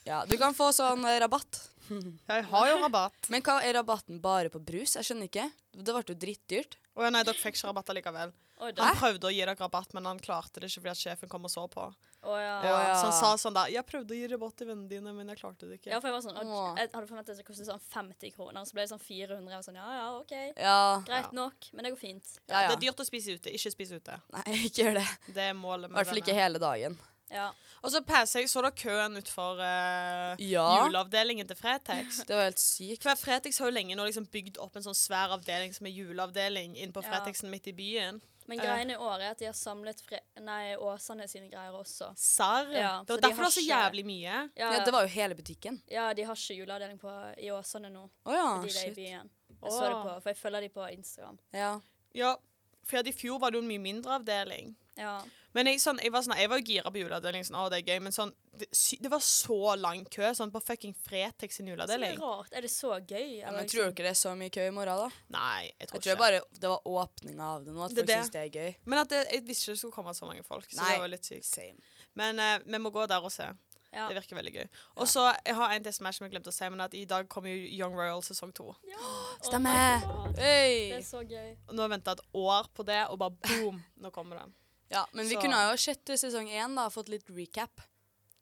Ja, du kan få sånn eh, rabatt.
Jeg har jo rabatt.
Men hva er rabatten bare på brus? Jeg skjønner ikke. Det ble jo drittdyrt.
Å ja, nei, dere fikk ikke rabatt allikevel.
Oi, da.
Han prøvde å gi dere rabatt, men han klarte det ikke fordi at sjefen kom og så på.
Å, ja.
Ja,
ja.
Så han sa sånn der Jeg prøvde å gi rabatt til vennene dine, men jeg klarte det ikke.
Ja, for jeg var sånn,
Åh.
jeg hadde forventet at det kostet sånn 50 kroner, så ble det sånn 400. Jeg var sånn, ja, ja, ok.
Ja,
Greit nok, men det går fint.
ja,
Det
ja.
er dyrt å spise ute. Ikke spise ute.
Nei, ikke gjør det.
Det er målet.
I hvert fall ikke hele dagen.
Ja.
Og så passer jeg, så da køen utfor uh,
Ja.
juleavdelingen til Fretex.
Det var helt sykt.
For Fretex har jo lenge nå liksom bygd opp en sånn svær avdeling som er juleavdeling inne på
Ja.
Fretexen midt i byen.
Men
Eh.
Ja.
greiene i år er at de har samlet fre nei, Åsane sine greier også.
Sarr.
Ja,
det
så
var
de
derfor det
har
var så
ikke-
jævlig mye.
Ja,
Ja, det var jo hele butikken.
ja, de har ikke juleavdeling på, i Åsane nå,
Å ja,
fordi det er i
Ah, shit.
byen. Jeg så det
Åh.
på, for jeg følger de på Instagram.
Ja.
Ja, for at i fjor var det jo en mye mindre avdeling.
Ja,
Men jeg, sånn, jeg var sånn, jeg var jo gira på juleavdeling, sånn, å, det er gøy, men sånn, det, sy- det var så lang kø sånn, på fucking Fretex sin
så det er
juleavdeling.
rart. Er det så gøy?
Ja,
eller
men
liksom-
tror dere det er så mye kø i morgen, da?
Nei, jeg tror,
Jeg tror
ikke.
bare det var åpninga av det nå, at
Det er
folk
det.
syns det er gøy.
Men at det, jeg visste ikke det skulle komme så mange folk, så
Nei.
det var litt sykt.
Same.
Men eh, vi må gå der og se.
Ja.
Det virker veldig gøy. Og så jeg har en til smash som jeg glemte å si, men at i dag kommer jo Young Royal sesong to.
Ja. Oh
Stemmer.
my God. Det
Øy!
er så gøy.
Og nå har jeg venta et år på det, og bare boom, nå kommer det.
Ja, men vi
Så-
kunne jo sett sesong én, da, fått litt recap.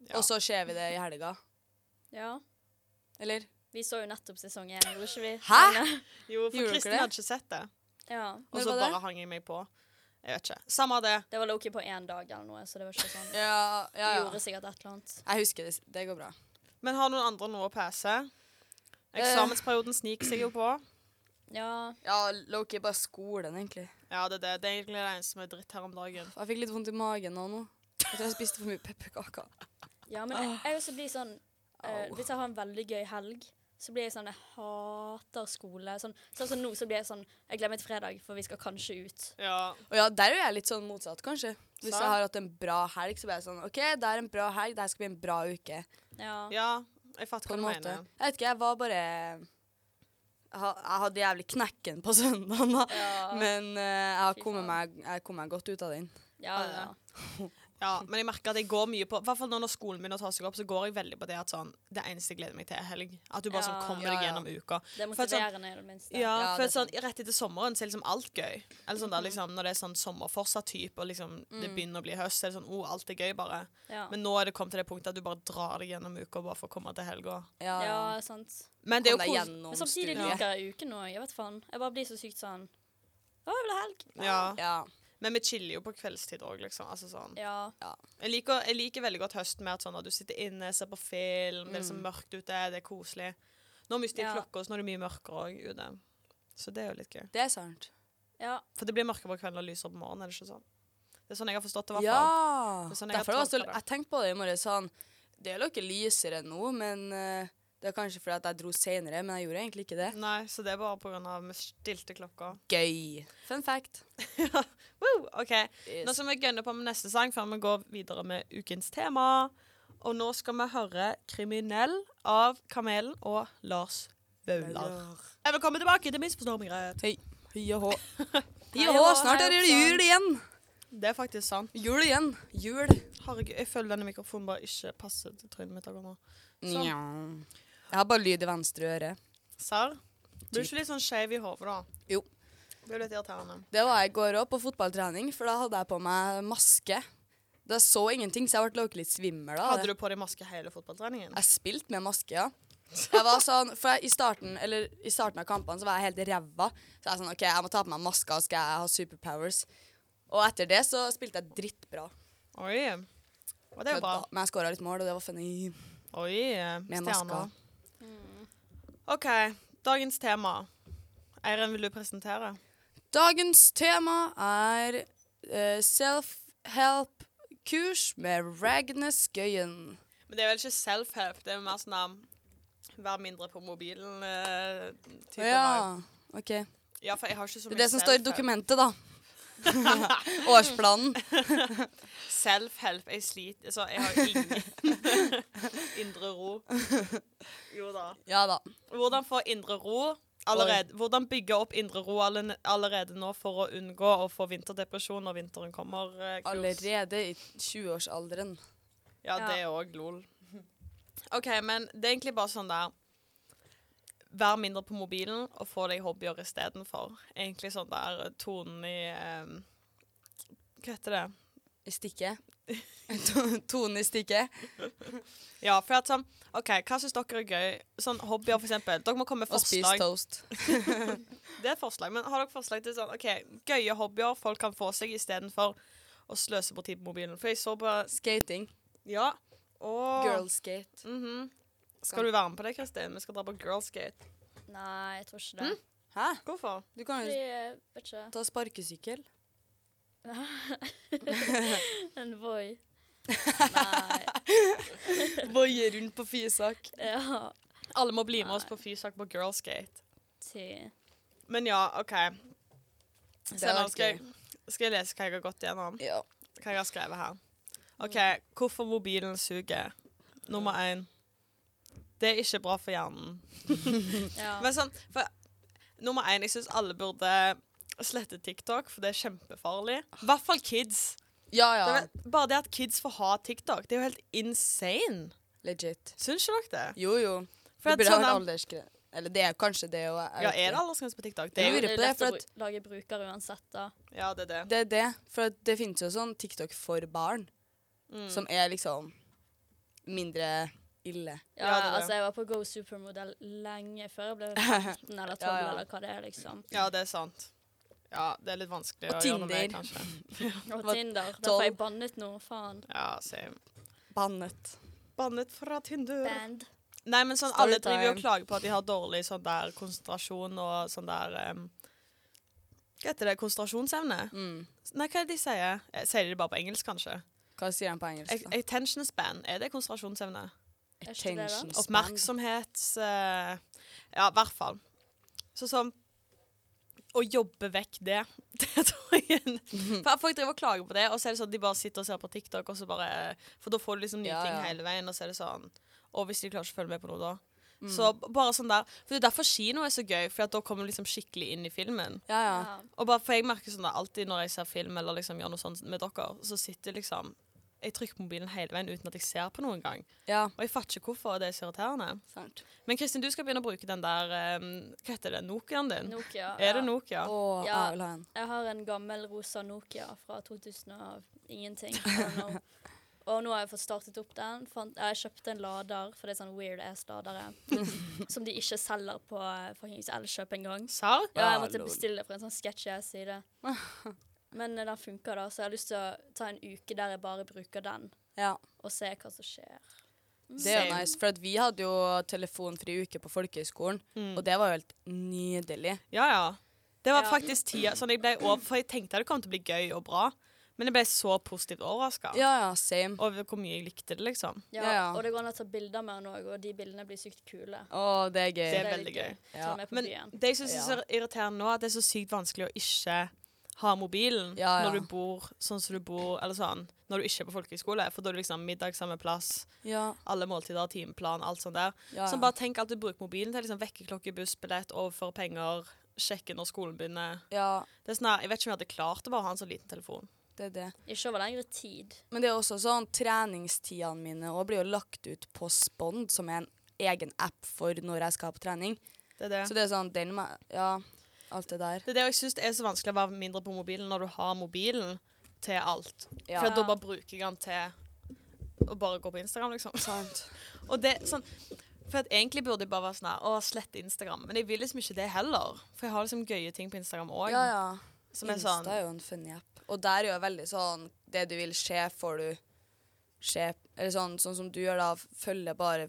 Ja.
Og så ser vi det i helga.
Ja.
Eller?
Vi så jo nettopp sesong 1, gjorde ikke vi?
Hæ?
Men, eh,
Jo, for
Gjorde dere
Kristin
det?
hadde ikke sett det.
Ja.
Og
Når
så
var det?
bare hang jeg meg på. Jeg vet ikke. Samme det.
Det var Loki på én dag eller noe, så det var ikke sånn.
Ja, ja,
De
ja.
gjorde sikkert et eller annet.
Jeg husker det. Det går bra.
Men har noen andre noe å pese?
Eh.
Eksamensperioden sniker seg jo på.
Ja,
Ja, Loki bare skolen, egentlig.
Ja, det er det. Det er egentlig det eneste som er dritt her om dagen.
Jeg fikk litt vondt i magen nå. nå. Jeg tror jeg spiste for mye pepperkaker.
ja men jeg, jeg også blir sånn eh,
Au.
Hvis jeg har en veldig gøy helg, så blir jeg sånn Jeg hater skole. Sånn sånn som nå, så blir jeg sånn Jeg glemmer et fredag, for vi skal kanskje ut.
Ja.
Og ja, der er jo jeg litt sånn motsatt, kanskje. Hvis
Sant.
jeg har hatt en bra helg, så blir jeg sånn OK, det er en bra helg, det her skal bli en bra uke.
Ja.
ja. Jeg fatter
På
hva
en
du
måte.
mener.
Jeg vet ikke, jeg var bare Jeg ha- jeg hadde jævlig knekken på søndagen, da.
Ja.
Men eh, jeg har
Fy
kommet
faen.
meg, jeg kom meg godt ut av den.
ja, ja.
Ja, men jeg merker at jeg går mye på I hvert fall nå når skolen begynner å ta seg opp, så går jeg veldig på det at sånn Det eneste jeg gleder meg til, er helg. At du bare sånn
Ja.
kommer
Ja,
deg
ja.
gjennom uka.
Det er
For at sånn-
motiverende, i det minste.
Ja,
Ja,
for
det er
sånn, rett etter sommeren så er liksom alt gøy. Eller sånn da, liksom, når det er sånn sommer fortsatt type, og liksom det begynner å bli høst, så er det sånn oh, alt er gøy, bare.
Ja.
Men nå er det kommet til det punktet at du bare drar deg gjennom uka bare for å komme til helga.
Ja,
ja,
ja.
sant.
Men det er jo
Kom deg
koselig.
gjennom
Men samtidig
studiet.
liker jeg uken òg. Jeg vet faen. Jeg bare blir så sykt sånn Å, jeg vil ha helg.
Ja.
Ja.
Men vi chiller jo på kveldstid òg, liksom. Altså, sånn.
Ja.
jeg, liker, jeg liker veldig godt høsten med at sånn at du sitter inne, ser på film, det er liksom mørkt ute, det er koselig. Nå mister jeg
Ja.
klokka, så nå er det mye mørkere òg ute. Så det er jo litt gøy.
Det er sant.
ja.
For det blir mørkere på kvelden og lysere på morgenen, er det ikke sånn? Det er sånn jeg har forstått det, i hvert fall.
Ja.
Det er sånn jeg har
Derfor var det så,
tolket det.
jeg tenkte på det i morges sånn Det er jo ikke lysere nå, men eh, det er kanskje fordi at jeg dro senere, men jeg gjorde egentlig ikke det.
Nei, så det er bare pga. vi stilte klokka.
Gøy. Fun fact.
Woo, ok,
Yes.
Nå skal vi gønne på med neste sang før vi går videre med ukens tema. Og nå skal vi høre 'Kriminell' av Kamelen og Lars Vaular. Eh, Velkommen tilbake til Misforstå meg rett.
Hei. Hei og hå.
Hei
Hei og
og
hå,
hå,
snart
hei
er det
og sann.
jul igjen.
Det er faktisk sant.
Jul igjen. Jul.
Herregud, jeg føler denne mikrofonen bare ikke passer til trynet mitt akkurat nå. Sånn.
Nja. Jeg har bare lyd i venstre øre.
Serr? Blir du ikke litt sånn skeiv i hodet, da?
Jo.
Det er jo litt irriterende.
Det var jeg i går òg, på fotballtrening, for da hadde jeg på meg maske. Da så ingenting, så jeg ble litt svimmel av
Hadde
det.
du på deg maske hele fotballtreningen?
Jeg spilte med maske, ja. Jeg var sånn, for jeg, i, starten, eller, I starten av kampene så var jeg helt ræva. Så jeg sånn, OK, jeg må ta på meg maska, og skal jeg ha superpowers. Og etter det så spilte jeg drittbra.
Oi. Og det er jo bra.
Kødda. Men jeg skåra litt mål, og det var funny.
Oi,
Med
stjerner.
maska.
OK, dagens tema. Eiren, vil du presentere?
Dagens tema er eh, self-help-kurs med Ragnes Gøyen.
Men det er vel ikke self-help, det er mer sånn um, Vær mindre på mobilen. eh, type vibe.
Ja, OK. Det
ja, for jeg har ikke så mye
er det som står i
self-help.
dokumentet, da. Årsplanen.
Self-help. Jeg sliter Så jeg har ingen indre ro. Jo da.
Ja da.
Hvordan få indre ro allerede Hvordan bygge opp indre ro alle- allerede nå for å unngå å få vinterdepresjon når vinteren kommer? eh, kurs?
Allerede i 20-årsalderen.
Ja,
Ja.
det er òg lol. OK, men det er egentlig bare sånn der Vær mindre på mobilen og få deg hobbyer istedenfor. Egentlig sånn der tonen i eh, Hva heter det?
I stikket. To- Tonen i stikket.
Ja, for at sånn OK, hva syns dere er gøy? Sånn hobbyer, for eksempel. Dere må komme med
Og spis
forslag.
toast.
Det er et forslag, men har dere forslag til sånn OK, gøye hobbyer folk kan få seg istedenfor å sløse bort tid på mobilen? For jeg så på
Skating.
Ja. Og
Girlskate.
Mhm. Skal du være med på det, Kristin? Vi skal dra på girlsgate.
Nei, jeg tror ikke det.
Hæ?
Hvorfor?
Du kan
Fordi,
jo
jeg vet ikke
ta sparkesykkel.
En Voi. Nei.
Voie rundt på Fysak.
Ja.
Alle må bli med oss på Fysak på girlsgate.
Ti.
Men ja, OK. Se,
hadde
nå
vært
skal, jeg, skal jeg lese hva jeg har gått gjennom?
Ja.
Hva jeg har skrevet her. OK, hvorfor mobilen suger. Nummer én. Det er ikke bra for hjernen.
Ja.
Men sånn, for Nummer én, jeg syns alle burde slette TikTok, for det er kjempefarlig. I hvert fall kids.
ja
Det
Ah. ja.
er vel- bare det at kids får ha TikTok, det er jo helt insane.
Legit.
Syns ikke dere det?
Jo jo.
For
det
at
burde
sånn
ha vært
at-
aldersgrense. Eller det er kanskje det òg.
Ja, er det aldersgrense på TikTok? Det
Jeg
er jo,
lurer på det,
lett
for
å
at-
bru- lage bruker uansett, da.
ja, det er det.
Det er det. For at det finnes jo sånn TikTok for barn.
Mm.
Som er liksom mindre ille.
Ja,
Ja, det er det.
altså Jeg var på Go Supermodell lenge før jeg ble 15 eller 12,
Ja, ja.
eller hva det er. liksom.
Ja, det er sant. Ja, det er litt vanskelig
Og
å gjøre noe med,
Tinder.
kanskje.
Og
Var
Tinder. Da
tolv.
får jeg bannet noe, faen.
Ja, same.
Bannet.
Bannet fra Tinder.
Band.
Nei, men sånn, alle
Storytime.
driver jo og klager på at de har dårlig sånn der konsentrasjon og sånn der em, Hva heter det? Konsentrasjonsevne?
Mm.
Nei, hva er det de sier? Eh, Sier de det bare på engelsk, kanskje?
Hva sier de på engelsk? da?
Attention span, er det konsentrasjonsevne?
Er ikke det da?
Attention span.
Oppmerksomhets... eh, ja, i hvert fall. Så sånn Å jobbe vekk det, det tror jeg er en- For Folk driver og klager på det, og så er det sånn at de bare sitter og ser på TikTok, og så bare For da får du liksom nye
Ja,
ting
ja.
hele veien, og så er det sånn Og hvis de klarer ikke å følge med på noe, da. Så b- bare sånn der For det er derfor kino er så gøy, for at da kommer du liksom skikkelig inn i filmen.
Ja ja.
Ja.
Og bare for jeg merker sånn der, alltid når jeg ser film eller liksom gjør noe sånt med dere, så sitter liksom jeg trykker på mobilen hele veien uten at jeg ser på noen gang.
Ja,
Og jeg fatter ikke hvorfor, og det er så irriterende.
Sant.
Men Kristin, du skal begynne å bruke den der eh, Hva heter det? Nokiaen din?
Nokia.
Er det
ja.
Nokia?
Åh,
Ja.
jeg vil ha en.
Jeg har en gammel rosa Nokia fra 2000 og ingenting. I don't know. Og nå har jeg fått startet opp den. Fant, jeg kjøpte en lader, for det er sånn weird ass-ladere. som de ikke selger på eh, fuckings Elkjøp engang.
Sar?
Ja, jeg
Ah,
måtte
lol.
bestille det fra en sånn sketchy ass-side. Men eh, den funker, da, så jeg har lyst til å ta en uke der jeg bare bruker den,
Ja,
og se hva som skjer. Mm.
det er jo
Same.
nice. For at vi hadde jo telefonfri uke på folkehøyskolen,
Mm.
og det var jo helt nydelig.
Ja, ja. Det var
Ja.
faktisk tida sånn jeg ble over, for jeg tenkte det kom til å bli gøy og bra, men jeg ble så positivt overraska
Ja, ja, same.
over hvor mye jeg likte det, liksom.
Ja,
Ja, ja.
Og det går an å ta bilder med den òg, og de bildene blir sykt kule.
Å, det er gøy.
Det er
litt
veldig gøy.
Ta
Ja.
med på
Men
byen.
det jeg syns er så irriterende nå, at det er så sykt vanskelig å ikke ha mobilen
Ja, ja.
når du bor sånn som du bor, eller sånn, når du ikke er på folkehøyskole, for da er det liksom middag samme plass,
Ja,
alle måltider, timeplan, alt sånt der.
ja,
Så
ja.
bare tenk at du bruker mobilen til liksom vekkerklokke, bussbillett, overføre penger, sjekke når skolen begynner.
ja,
Det er sånn her, jeg vet ikke om jeg hadde klart å bare ha en så liten telefon.
det er det.
Ikke over lengre tid.
Men det er også sånn, treningstidene mine også blir jo lagt ut på Spond, som er en egen app for når jeg skal på trening.
Det er det.
Så det er sånn, den må Ja, alt det der.
Det er det jeg syns er så vanskelig å være mindre på mobilen når du har mobilen til alt.
Ja.
For da bare bruker jeg den til å bare gå på Instagram, liksom.
Sant.
Og det er sånn For at egentlig burde jeg bare være sånn her, å slette Instagram. Men jeg vil liksom ikke det heller. For jeg har liksom gøye ting på Instagram òg.
Ja, ja.
Som er
Insta
sånn
er jo en funny app. Og der er jo veldig sånn Det du vil se, får du se. Eller sånn, sånn som du gjør, da. Følger bare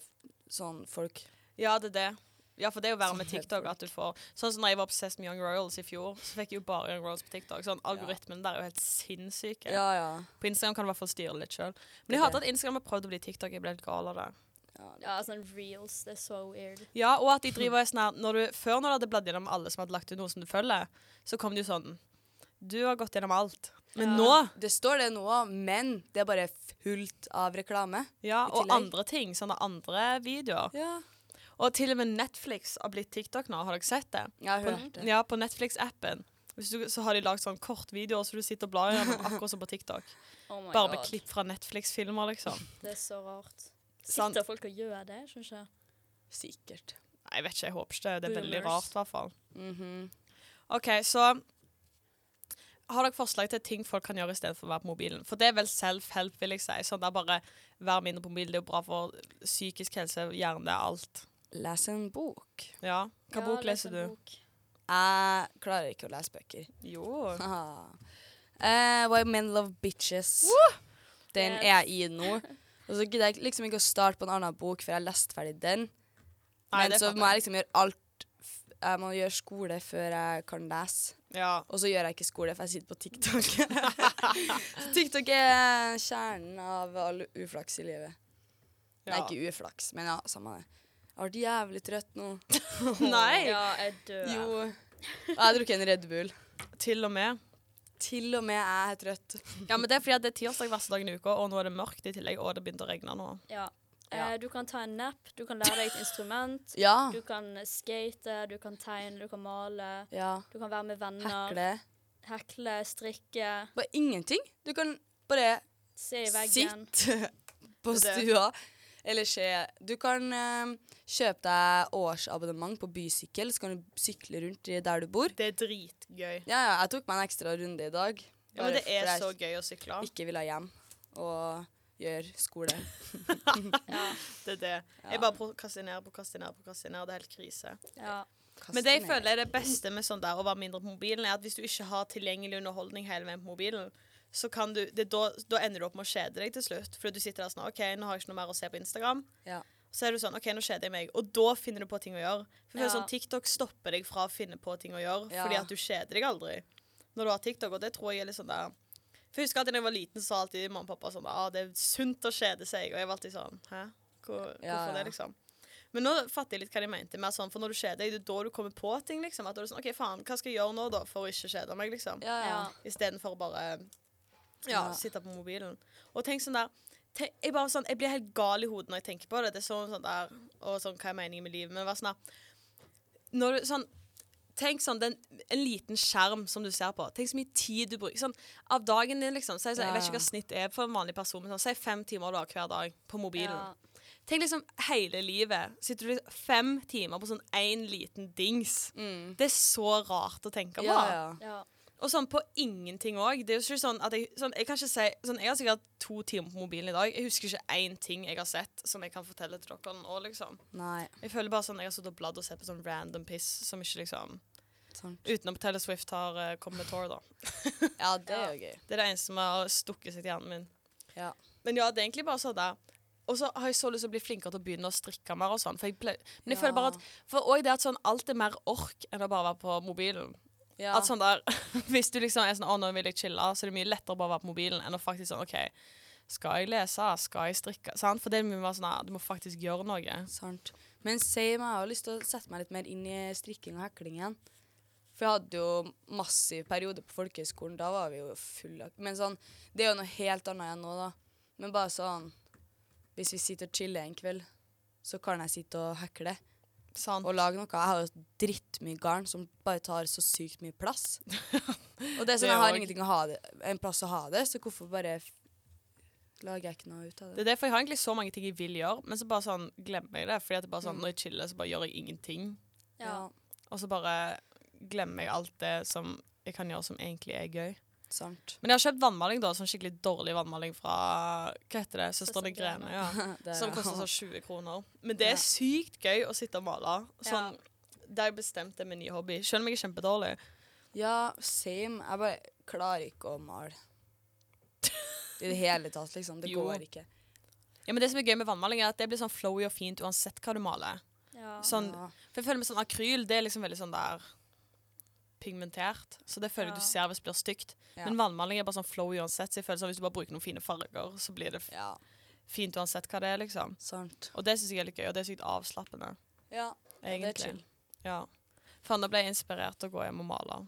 sånn folk.
Ja, det er det. Ja, for det er jo å være med
Som helt
TikTok at du får Sånn som når jeg var obsessed med Young Royals i fjor, så fikk jeg jo bare Young Royals på TikTok. Sånn, Algoritmen der er jo helt sinnssyke.
Ja, ja.
På Instagram kan du i hvert fall styre litt sjøl. Men
Det er
jeg hater
det.
at Instagram har prøvd å bli TikTok. Jeg ble helt gal av det.
Ja, sånn reels. Det er så weird.
Ja, og at de driver og er sånn her når du, Før når du hadde bladd gjennom alle som hadde lagt ut noe som du følger, så kom det jo sånn Du har gått gjennom alt.
Ja.
Men nå
Det står det nå òg, men det er bare fullt av reklame.
Ja,
I
og
tillegg.
andre ting. Sånne andre videoer.
Ja.
Og til og med Netflix har blitt TikTok nå. Har dere sett det?
Jeg har
På,
hørt det.
ja, på Netflix-appen. Hvis du, så har de lagd sånn kortvideoer så du sitter og blar gjennom, akkurat som på TikTok.
Oh my
Bare med
God.
klipp fra Netflix-filmer, liksom.
Det er så rart.
Sant.
Sitter folk og gjør det? Skjønner ikke.
Sikkert.
Nei, jeg vet ikke, jeg håper ikke det. Det er veldig
Boomers.
rart, i hvert fall.
Mhm.
OK, så har dere forslag til ting folk kan gjøre istedenfor å være på mobilen? For det er vel self-help, vil jeg si. Sånn der bare Vær mindre på mobilen. Det er jo bra for psykisk helse, hjerne, alt.
Les en bok.
Ja. Hva
Ja,
bok
les
leser du?
en bok.
Jeg klarer ikke å lese bøker.
Jo.
Haha. Ah. Eh, Why Men Love Bitches. Den
Yes.
er jeg i nå. Og så gidder jeg liksom ikke å starte på en annen bok før jeg har lest ferdig den.
Nei,
Men
det
så
fatter
må jeg liksom gjøre alt f- Jeg må gjøre skole før jeg kan lese.
Ja.
Og så gjør jeg ikke skole, for jeg sitter på TikTok. så TikTok er kjernen av all uflaks i livet. Nei,
ja.
ikke uflaks, men ja, samme det. Jeg har vært jævlig trøtt nå.
Nei.
Ja, jeg dør.
Jo. Og jeg har drukket en Red Bull.
Til og med.
Til og med jeg er trøtt.
Ja, men det er fordi at det er tirsdag verste dagen i uka, og nå er det mørkt i tillegg, og det begynte å regne nå.
Ja.
Ja.
Eh, du kan ta en nap, du kan lære deg et instrument,
Ja.
du kan skate, du kan tegne, du kan male,
ja.
du kan være med venner.
Hekle.
Hekle, strikke,
Bare ingenting. Du kan bare
se i veggen.
sitte på
Det.
stua. Eller se Du kan eh, kjøpe deg årsabonnement på bysykkel, så kan du sykle rundt i der du bor.
Det er dritgøy.
Ja, ja, jeg tok meg en ekstra runde i dag.
Ja, men det er
Bare
så
fordi
gøy å sykle.
jeg ikke ville hjem og gjøre skole.
Ja,
Det er det. Jeg bare prokrastinerer, prokrastinerer, prokrastinerer. Det er helt krise.
ja.
Men det jeg
Kaste ned.
føler er det beste med sånn der å være mindre på mobilen, er at hvis du ikke har tilgjengelig underholdning hele veien på mobilen, så kan du det, er da, da ender du opp med å kjede deg til slutt. Fordi du sitter der sånn OK, nå har jeg ikke noe mer å se på Instagram.
Ja.
Så er du sånn OK, nå kjeder jeg meg. Og da finner du på ting å gjøre. For jeg føler
Ja.
sånn, TikTok stopper deg fra å finne på ting å gjøre,
Ja.
fordi at du kjeder deg aldri når du har TikTok, og det tror jeg er litt sånn der For jeg husker alltid da jeg var liten, så sa alltid mamma og pappa sånn ah, det er sunt å kjede seg. Og jeg var alltid sånn Hæ? Hvor, hvorfor
Ja, ja.
det, liksom? Men nå fatter jeg litt hva de mente. Mer sånn, for når du kjeder deg, det er da du kommer på ting. liksom. At da er du sånn, ok, faen, Hva skal jeg gjøre nå, da, for å ikke kjede meg? liksom?
ja, ja.
Ja.
Istedenfor å bare ja,
Ja.
sitte på mobilen. Og tenk sånn der te- jeg, bare sånn, jeg blir helt gal i hodet når jeg tenker på det. Det er sånn, sånn der, og sånn, Hva er meningen med livet? Men det var sånn der, når du, sånn, Tenk sånn, den, en liten skjerm som du ser på. Tenk så mye tid du bruker. Sånn, av dagen din, liksom. Si, sånn, jeg vet
Ja.
ikke hva snitt er for en vanlig person, men sånn, si fem timer du har hver dag på mobilen.
Ja.
Tenk liksom hele livet. Sitter du liksom fem timer på sånn én liten dings. Det er så rart å tenke på.
Ja, Mm. ja.
Ja.
Og sånn på ingenting òg. Det er jo ikke sånn at jeg sånn, Jeg kan ikke si sånn, Jeg har sikkert to timer på mobilen i dag. Jeg husker ikke én ting jeg har sett som jeg kan fortelle til dere nå, liksom.
Nei.
Jeg føler bare sånn Jeg har sittet og bladd og sett på sånn random piss som ikke liksom
Sant.
Utenom Taylor Swift har eh, kommet med Tour, da.
Ja, det er jo gøy.
Det er det eneste som har stukket seg til hjernen min.
Ja.
Men ja, det er egentlig bare sånn der. Og så har jeg så lyst til å bli flinkere til å begynne å strikke mer og sånn. For jeg ble, men jeg
Ja.
føler bare at For òg det at sånn alt er mer ork enn å bare være på mobilen.
Ja.
At sånn der, Hvis du liksom er sånn 'Å, nå vil jeg chille', så er det mye lettere å bare være på mobilen enn å faktisk sånn OK, skal jeg lese? Skal jeg strikke? Sant? For det er mye mer sånn «Nei, Du må faktisk gjøre noe.
Sant. Men same, jeg har lyst til å sette meg litt mer inn i strikking og hekling igjen. For jeg hadde jo massiv periode på folkehøyskolen. Da var vi jo fulle av Men sånn, det er jo noe helt annet enn nå, da. Men bare sånn Hvis vi sitter og chiller en kveld, så kan jeg sitte og hekle
Sant?
og lage noe. Jeg har jo drittmye garn som bare tar så sykt mye plass. Og det er
Det
sånn, jeg har
òg.
ingenting å ha det, en plass å ha det, så hvorfor bare f- lager jeg ikke noe ut av
Det
det?
er derfor jeg har egentlig så mange ting jeg vil gjøre, men så bare sånn glemmer jeg det. Fordi at det
Mm.
bare sånn, når jeg chiller, så bare gjør jeg ingenting.
ja.
Og så bare glemmer jeg alt det som jeg kan gjøre som egentlig er gøy.
Sant.
Men jeg har kjøpt vannmaling, da. Sånn skikkelig dårlig vannmaling fra hva heter det, Søstrene
Søstrene
Grene. ja.
Det er-
Som koster sånn 20 kroner. Men det
Ja.
er sykt gøy å sitte og male. Sånn, Det har jeg bestemt er min nye hobby. Selv om jeg er kjempedårlig.
Ja, same. Jeg bare klarer ikke å male. I det hele tatt, liksom. Det
Jo.
går ikke.
Ja, men det som er gøy med vannmaling, er at det blir sånn flowy og fint uansett hva du maler.
ja.
Sånn,
Ja.
For jeg føler med sånn akryl, det er liksom veldig sånn der pigmentert. Så det føler jeg
Ja.
du ser hvis det blir stygt.
Ja.
Men vannmaling er bare sånn flow uansett, så jeg føler sånn hvis du bare bruker noen fine farger, så blir det f-
ja,
fint uansett hva det er, liksom.
sant.
Og det syns jeg er litt gøy, og det er sykt avslappende,
Ja, det er
egentlig.
chill.
Ja. Faen, da ble jeg inspirert til å gå hjem og male.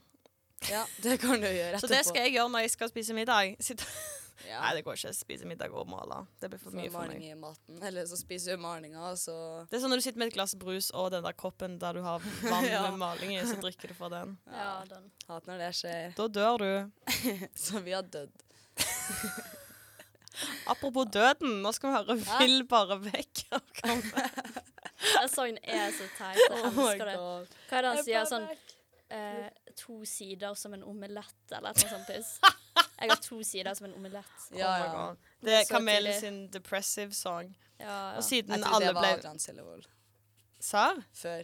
Ja, det kan du gjøre etterpå.
Så det skal jeg gjøre når jeg skal spise middag. Sitte.
Ja.
Nei, det går ikke. Spise middag og male. Det blir for mye for
maling
meg.
i maten. Eller så spiser du malinga, og så
Det er sånn når du sitter med et glass brus og den der koppen der du har vann
Ja.
med maling i, så drikker du fra den.
Ja, den.
Hat når det skjer.
Da dør du.
Så vi har dødd.
Apropos døden, nå skal vi høre
Hæ?
'Vil bare vekk'. av Kampen.
Den sangen er så teit. Jeg
Oh
elsker det.
god.
Hva er det han sier? Sånn eh, To sider som en omelett, eller et eller annet sånt piss. Jeg har to sider som en omelett.
Ja,
Oh my
ja.
God. Det er
Så
Kamelen
tidlig.
sin 'Depressive Song'.
Ja, ja.
Og siden
Jeg trodde
alle
det var
ble
Adrian Sellevold
Serr?
før.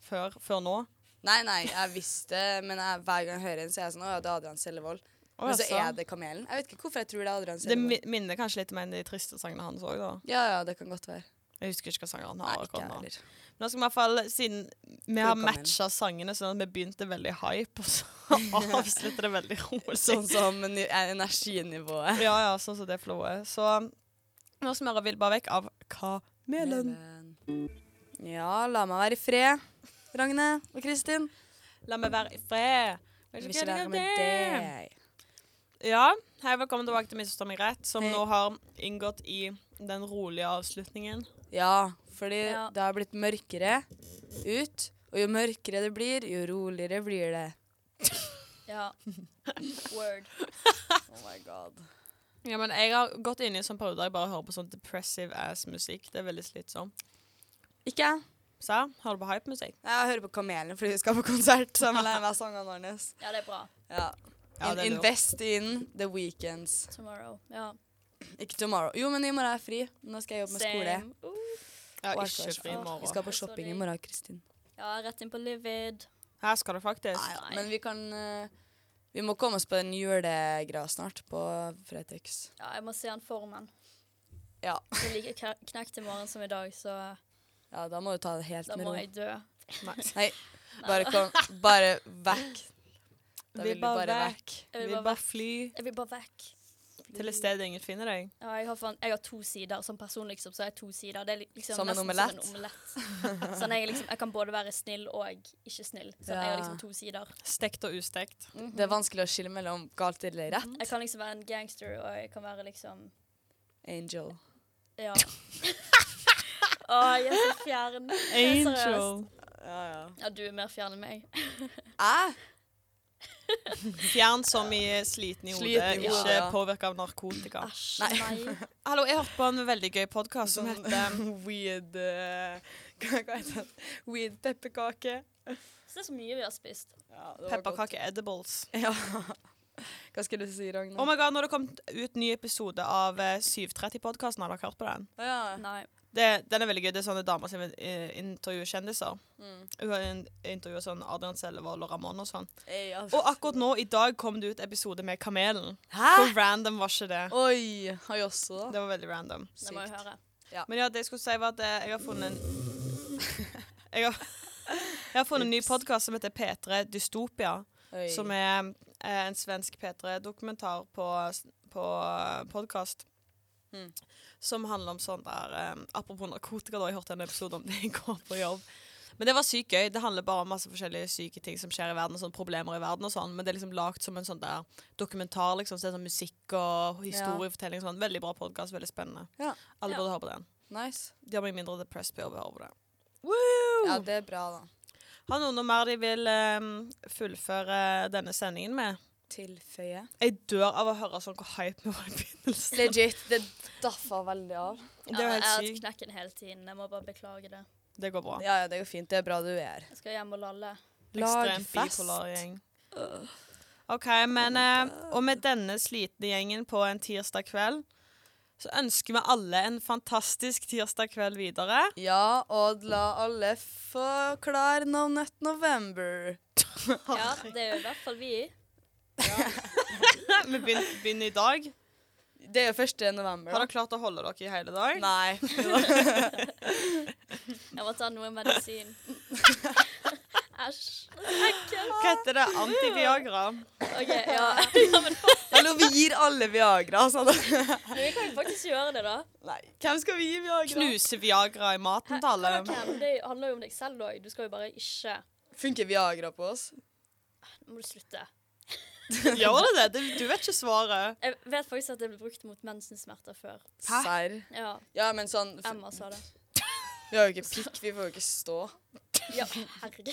Før, før nå?
Nei, nei, jeg visste det, men jeg, hver gang jeg hører en, så er jeg sånn Å ja, det er Adrian Sellevold.
Å,
Men så
jaså.
er det Kamelen. Jeg vet ikke hvorfor jeg tror det er Adrian
Det
Sellevold.
mi- minner kanskje litt om en av de triste sangene hans òg, da.
Ja, ja, det kan godt være.
Jeg husker ikke hva sanger han
Nei,
har.
ikke
akkurat
jeg
nå.
heller.
Nå skal vi i hvert fall, siden vi har
Kamelen.
matcha sangene, sånn at vi begynte veldig hype, og så avslutter det veldig rolig.
Sånn som ny- energinivået.
Ja, ja, sånn som det flowet. Så nå skal vi høre 'Vil bare vekk' av Kamelen.
Ja, la meg være i fred, Ragne og Kristin.
La meg være i fred.
Vil ikke være med deg.
Ja, hei, velkommen tilbake til Misforstå meg rett, som
Hei.
nå har inngått i den rolige avslutningen.
Ja, fordi
Ja.
det har blitt mørkere ut. Og jo mørkere det blir, jo roligere blir det.
ja. Word.
Oh my god.
Ja, men Jeg har gått inn i en sånn periode der jeg bare hører på sånn depressive ass-musikk. Det er veldig slitsomt.
Ikke jeg.
Så, hører du på hype-musikk?
Jeg hører på Kamelen fordi vi skal på konsert. Så jeg må lære meg sangene hans.
Ja, det er bra.
Ja.
Ja,
In
det er lurt.
invest in the weekends.
Tomorrow. Ja.
Ikke tomorrow. Jo, men i morgen er jeg fri. Nå skal jeg jobbe med skole.
Same. Uh,
Ja,
Og jeg skal
ikke
ikke-
fri i
Vi
morgen.
skal på
Sorry.
shopping i morgen, Kristin.
ja, rett inn på Livid.
Her skal du faktisk.
Nei, ja, men vi kan eh, Vi må komme oss på en julegreia snart på Fretex.
Ja, jeg må se han formen.
Ja.
Det er like kn- knekt i morgen som i dag, så
ja, da må du ta det helt
da
med
må
ro.
jeg dø.
Nei.
Nei, bare kom Bare vekk. Da
Vi
vil du bare vekk.
Jeg vil
Vi
bare
bare
vekk.
fly
Jeg vil bare vekk.
til et sted ingen finner deg.
Ja, jeg, har fan, jeg har to sider. Som person liksom, så har jeg to sider. Det er li- liksom
Som en
nesten
omelett.
Som en omelett. sånn, jeg, er liksom, jeg kan både være snill og ikke snill. Sånn, Jeg har liksom to sider.
Stekt og ustekt.
Mhm.
Det er vanskelig å skille mellom galt eller rett.
Jeg kan liksom være en gangster, og jeg kan være liksom
Angel.
Ja. Å, jeg er så fjern. Nei, seriøst.
Angel.
Ja, ja.
Ja, du er mer fjern enn meg.
Jeg?
Fjern som i sliten i hodet,
Sliten i
hodet,
ikke
ja. Ah.
påvirka av narkotika.
Æsj,
Nei.
nei.
Hallo, jeg hørte på en veldig gøy podkast som
Sånn
heter um, Weird eh, Hva hva heter den? Weird pepperkake.
Så det er så mye vi har spist.
Ja, det var godt.
Pepperkake edibles.
Ja. Hva skulle du si, Ragna?
Oh my god, nå har det kommet ut ny episode av 730-podkasten. Har dere hørt på den?
Å, ja.
Nei.
Det, den er veldig gøy. Det er sånne damer som eh, intervjuer kjendiser.
Mm.
Hun har in- intervjuet sånn Adrian Sellevold og Ramón og sånn.
Ei, altså.
Og akkurat nå, i dag, kom det ut episode med Kamelen.
Hæ?
Hvor random var ikke det?
Oi! Har jeg også, da?
Det var veldig random.
Det må jeg høre.
Men ja, det jeg skulle si var at eh, jeg har funnet en jeg, har, jeg har funnet en ny podkast som heter P3 Dystopia.
Oi.
Som er eh, en svensk P3-dokumentar på, på podkast.
Mm.
Som handler om sånn der eh, Apropos narkotika, da. Jeg hørte en episode om det i går på jobb. Men det var sykt gøy. Det handler bare om masse forskjellige syke ting som skjer i verden, og sånne problemer i verden og sånn. Men det er liksom lagd som en sånn der dokumentar, liksom. Så det er sånn musikk og historiefortelling og sånn. Veldig bra podkast. Veldig spennende.
Ja.
Alle
Ja.
burde høre på den.
Nice.
De har blitt mindre depressed ved å høre på det.
Ja, det er bra, da.
Har noen noe mer de vil eh, fullføre denne sendingen med?
Tilføye.
Jeg dør av å høre sånn hvor hype vi var i begynnelsen.
Legit. Det daffa veldig av.
Det var
jeg har
helt
hatt
sykt.
knekken hele tiden. Jeg må bare beklage det.
Det går bra.
Ja, ja, det går fint. Det er bra du er her.
Jeg skal hjem og lalle.
Ekstremt bipolar gjeng. OK, men eh, Og med denne slitne gjengen på en tirsdag kveld, så ønsker vi alle en fantastisk tirsdag kveld videre.
Ja, og la alle forklare No Nut November.
Ja, det er jo i hvert fall vi.
vi begynner, begynner i dag.
Det er jo 1. november.
Har
da.
dere klart å holde dere i hele dag?
Nei.
Jeg må ta noe medisin. Æsj. Ekkelt.
Hva heter det? Antiviagra?
OK, ja. ja men
Eller vi gir alle Viagra. Sånn.
men vi kan jo faktisk gjøre det, da.
Nei. Hvem skal vi gi Viagra?
Knuse Viagra i maten til alle?
Hvem? Det handler jo om deg selv òg. Du skal jo bare ikke
Funker Viagra på oss?
Nå må du slutte.
Gjør det det? Du- Du vet ikke svaret.
Jeg vet faktisk at det ble brukt mot mensensmerter før.
Hæ?
Serr.
Ja,
Ja, men sånn f-
Emma sa det.
Vi har jo ikke pikk, vi får jo ikke stå.
Ja, herregud.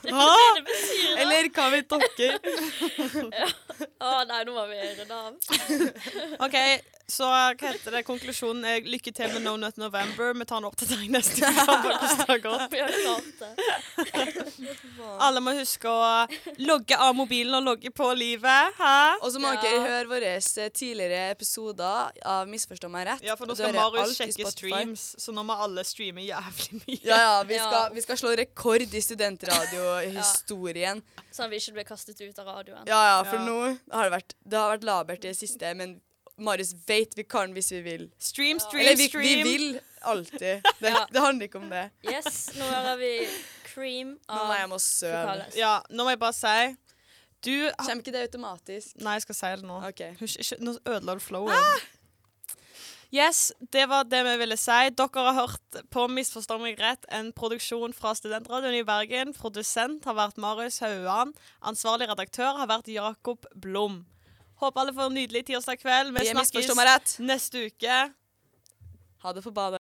Hæ?
Det betyr det.
Eller hva vet dere?
Å nei, nå må vi runde av.
OK, så hva heter det? Konklusjonen er lykke til med No Nut November. Vi tar en oppdatering neste uke. om hvordan det går.
Vi har klart det.
Alle må huske å logge av mobilen og logge på livet. Hæ?
Og så må
Ja.
dere høre våre eh, tidligere episoder av Misforstå meg rett.
Ja, for nå
Du
skal
hører
Marius
alt i
sjekke
Spotify.
streams, så nå må alle streame jævlig mye.
Ja, ja, vi skal,
Ja.
Vi skal slå rekord i studentradiohistorien.
Sånn at vi ikke blir kastet ut av radioen.
Ja, ja, for
Ja.
nå har det vært Det har vært labert i det siste, men Marius vet vi kan hvis vi vil.
Stream, stream,
Eller vi, vi
stream.
vil alltid. Det,
Ja.
det handler ikke om det.
Yes, nå hører vi Cream
Nå må
av
jeg hjem og sove.
Fokales.
Ja, nå må jeg bare si Du ha-
Kommer ikke det automatisk?
Nei, jeg skal si det nå.
OK.
Hysj, ikke, nå ødela du flowen. Ah! Yes, det var det vi ville si. Dere har hørt på Misforstå meg rett, en produksjon fra Studentradioen i Bergen. Produsent har vært Marius Hauan. Ansvarlig redaktør har vært Jakob Blom. Håper alle får en nydelig tirsdag kveld. Vi
Vi er Misforstå
snakkes
meg rett.
neste uke.
Ha det på badet.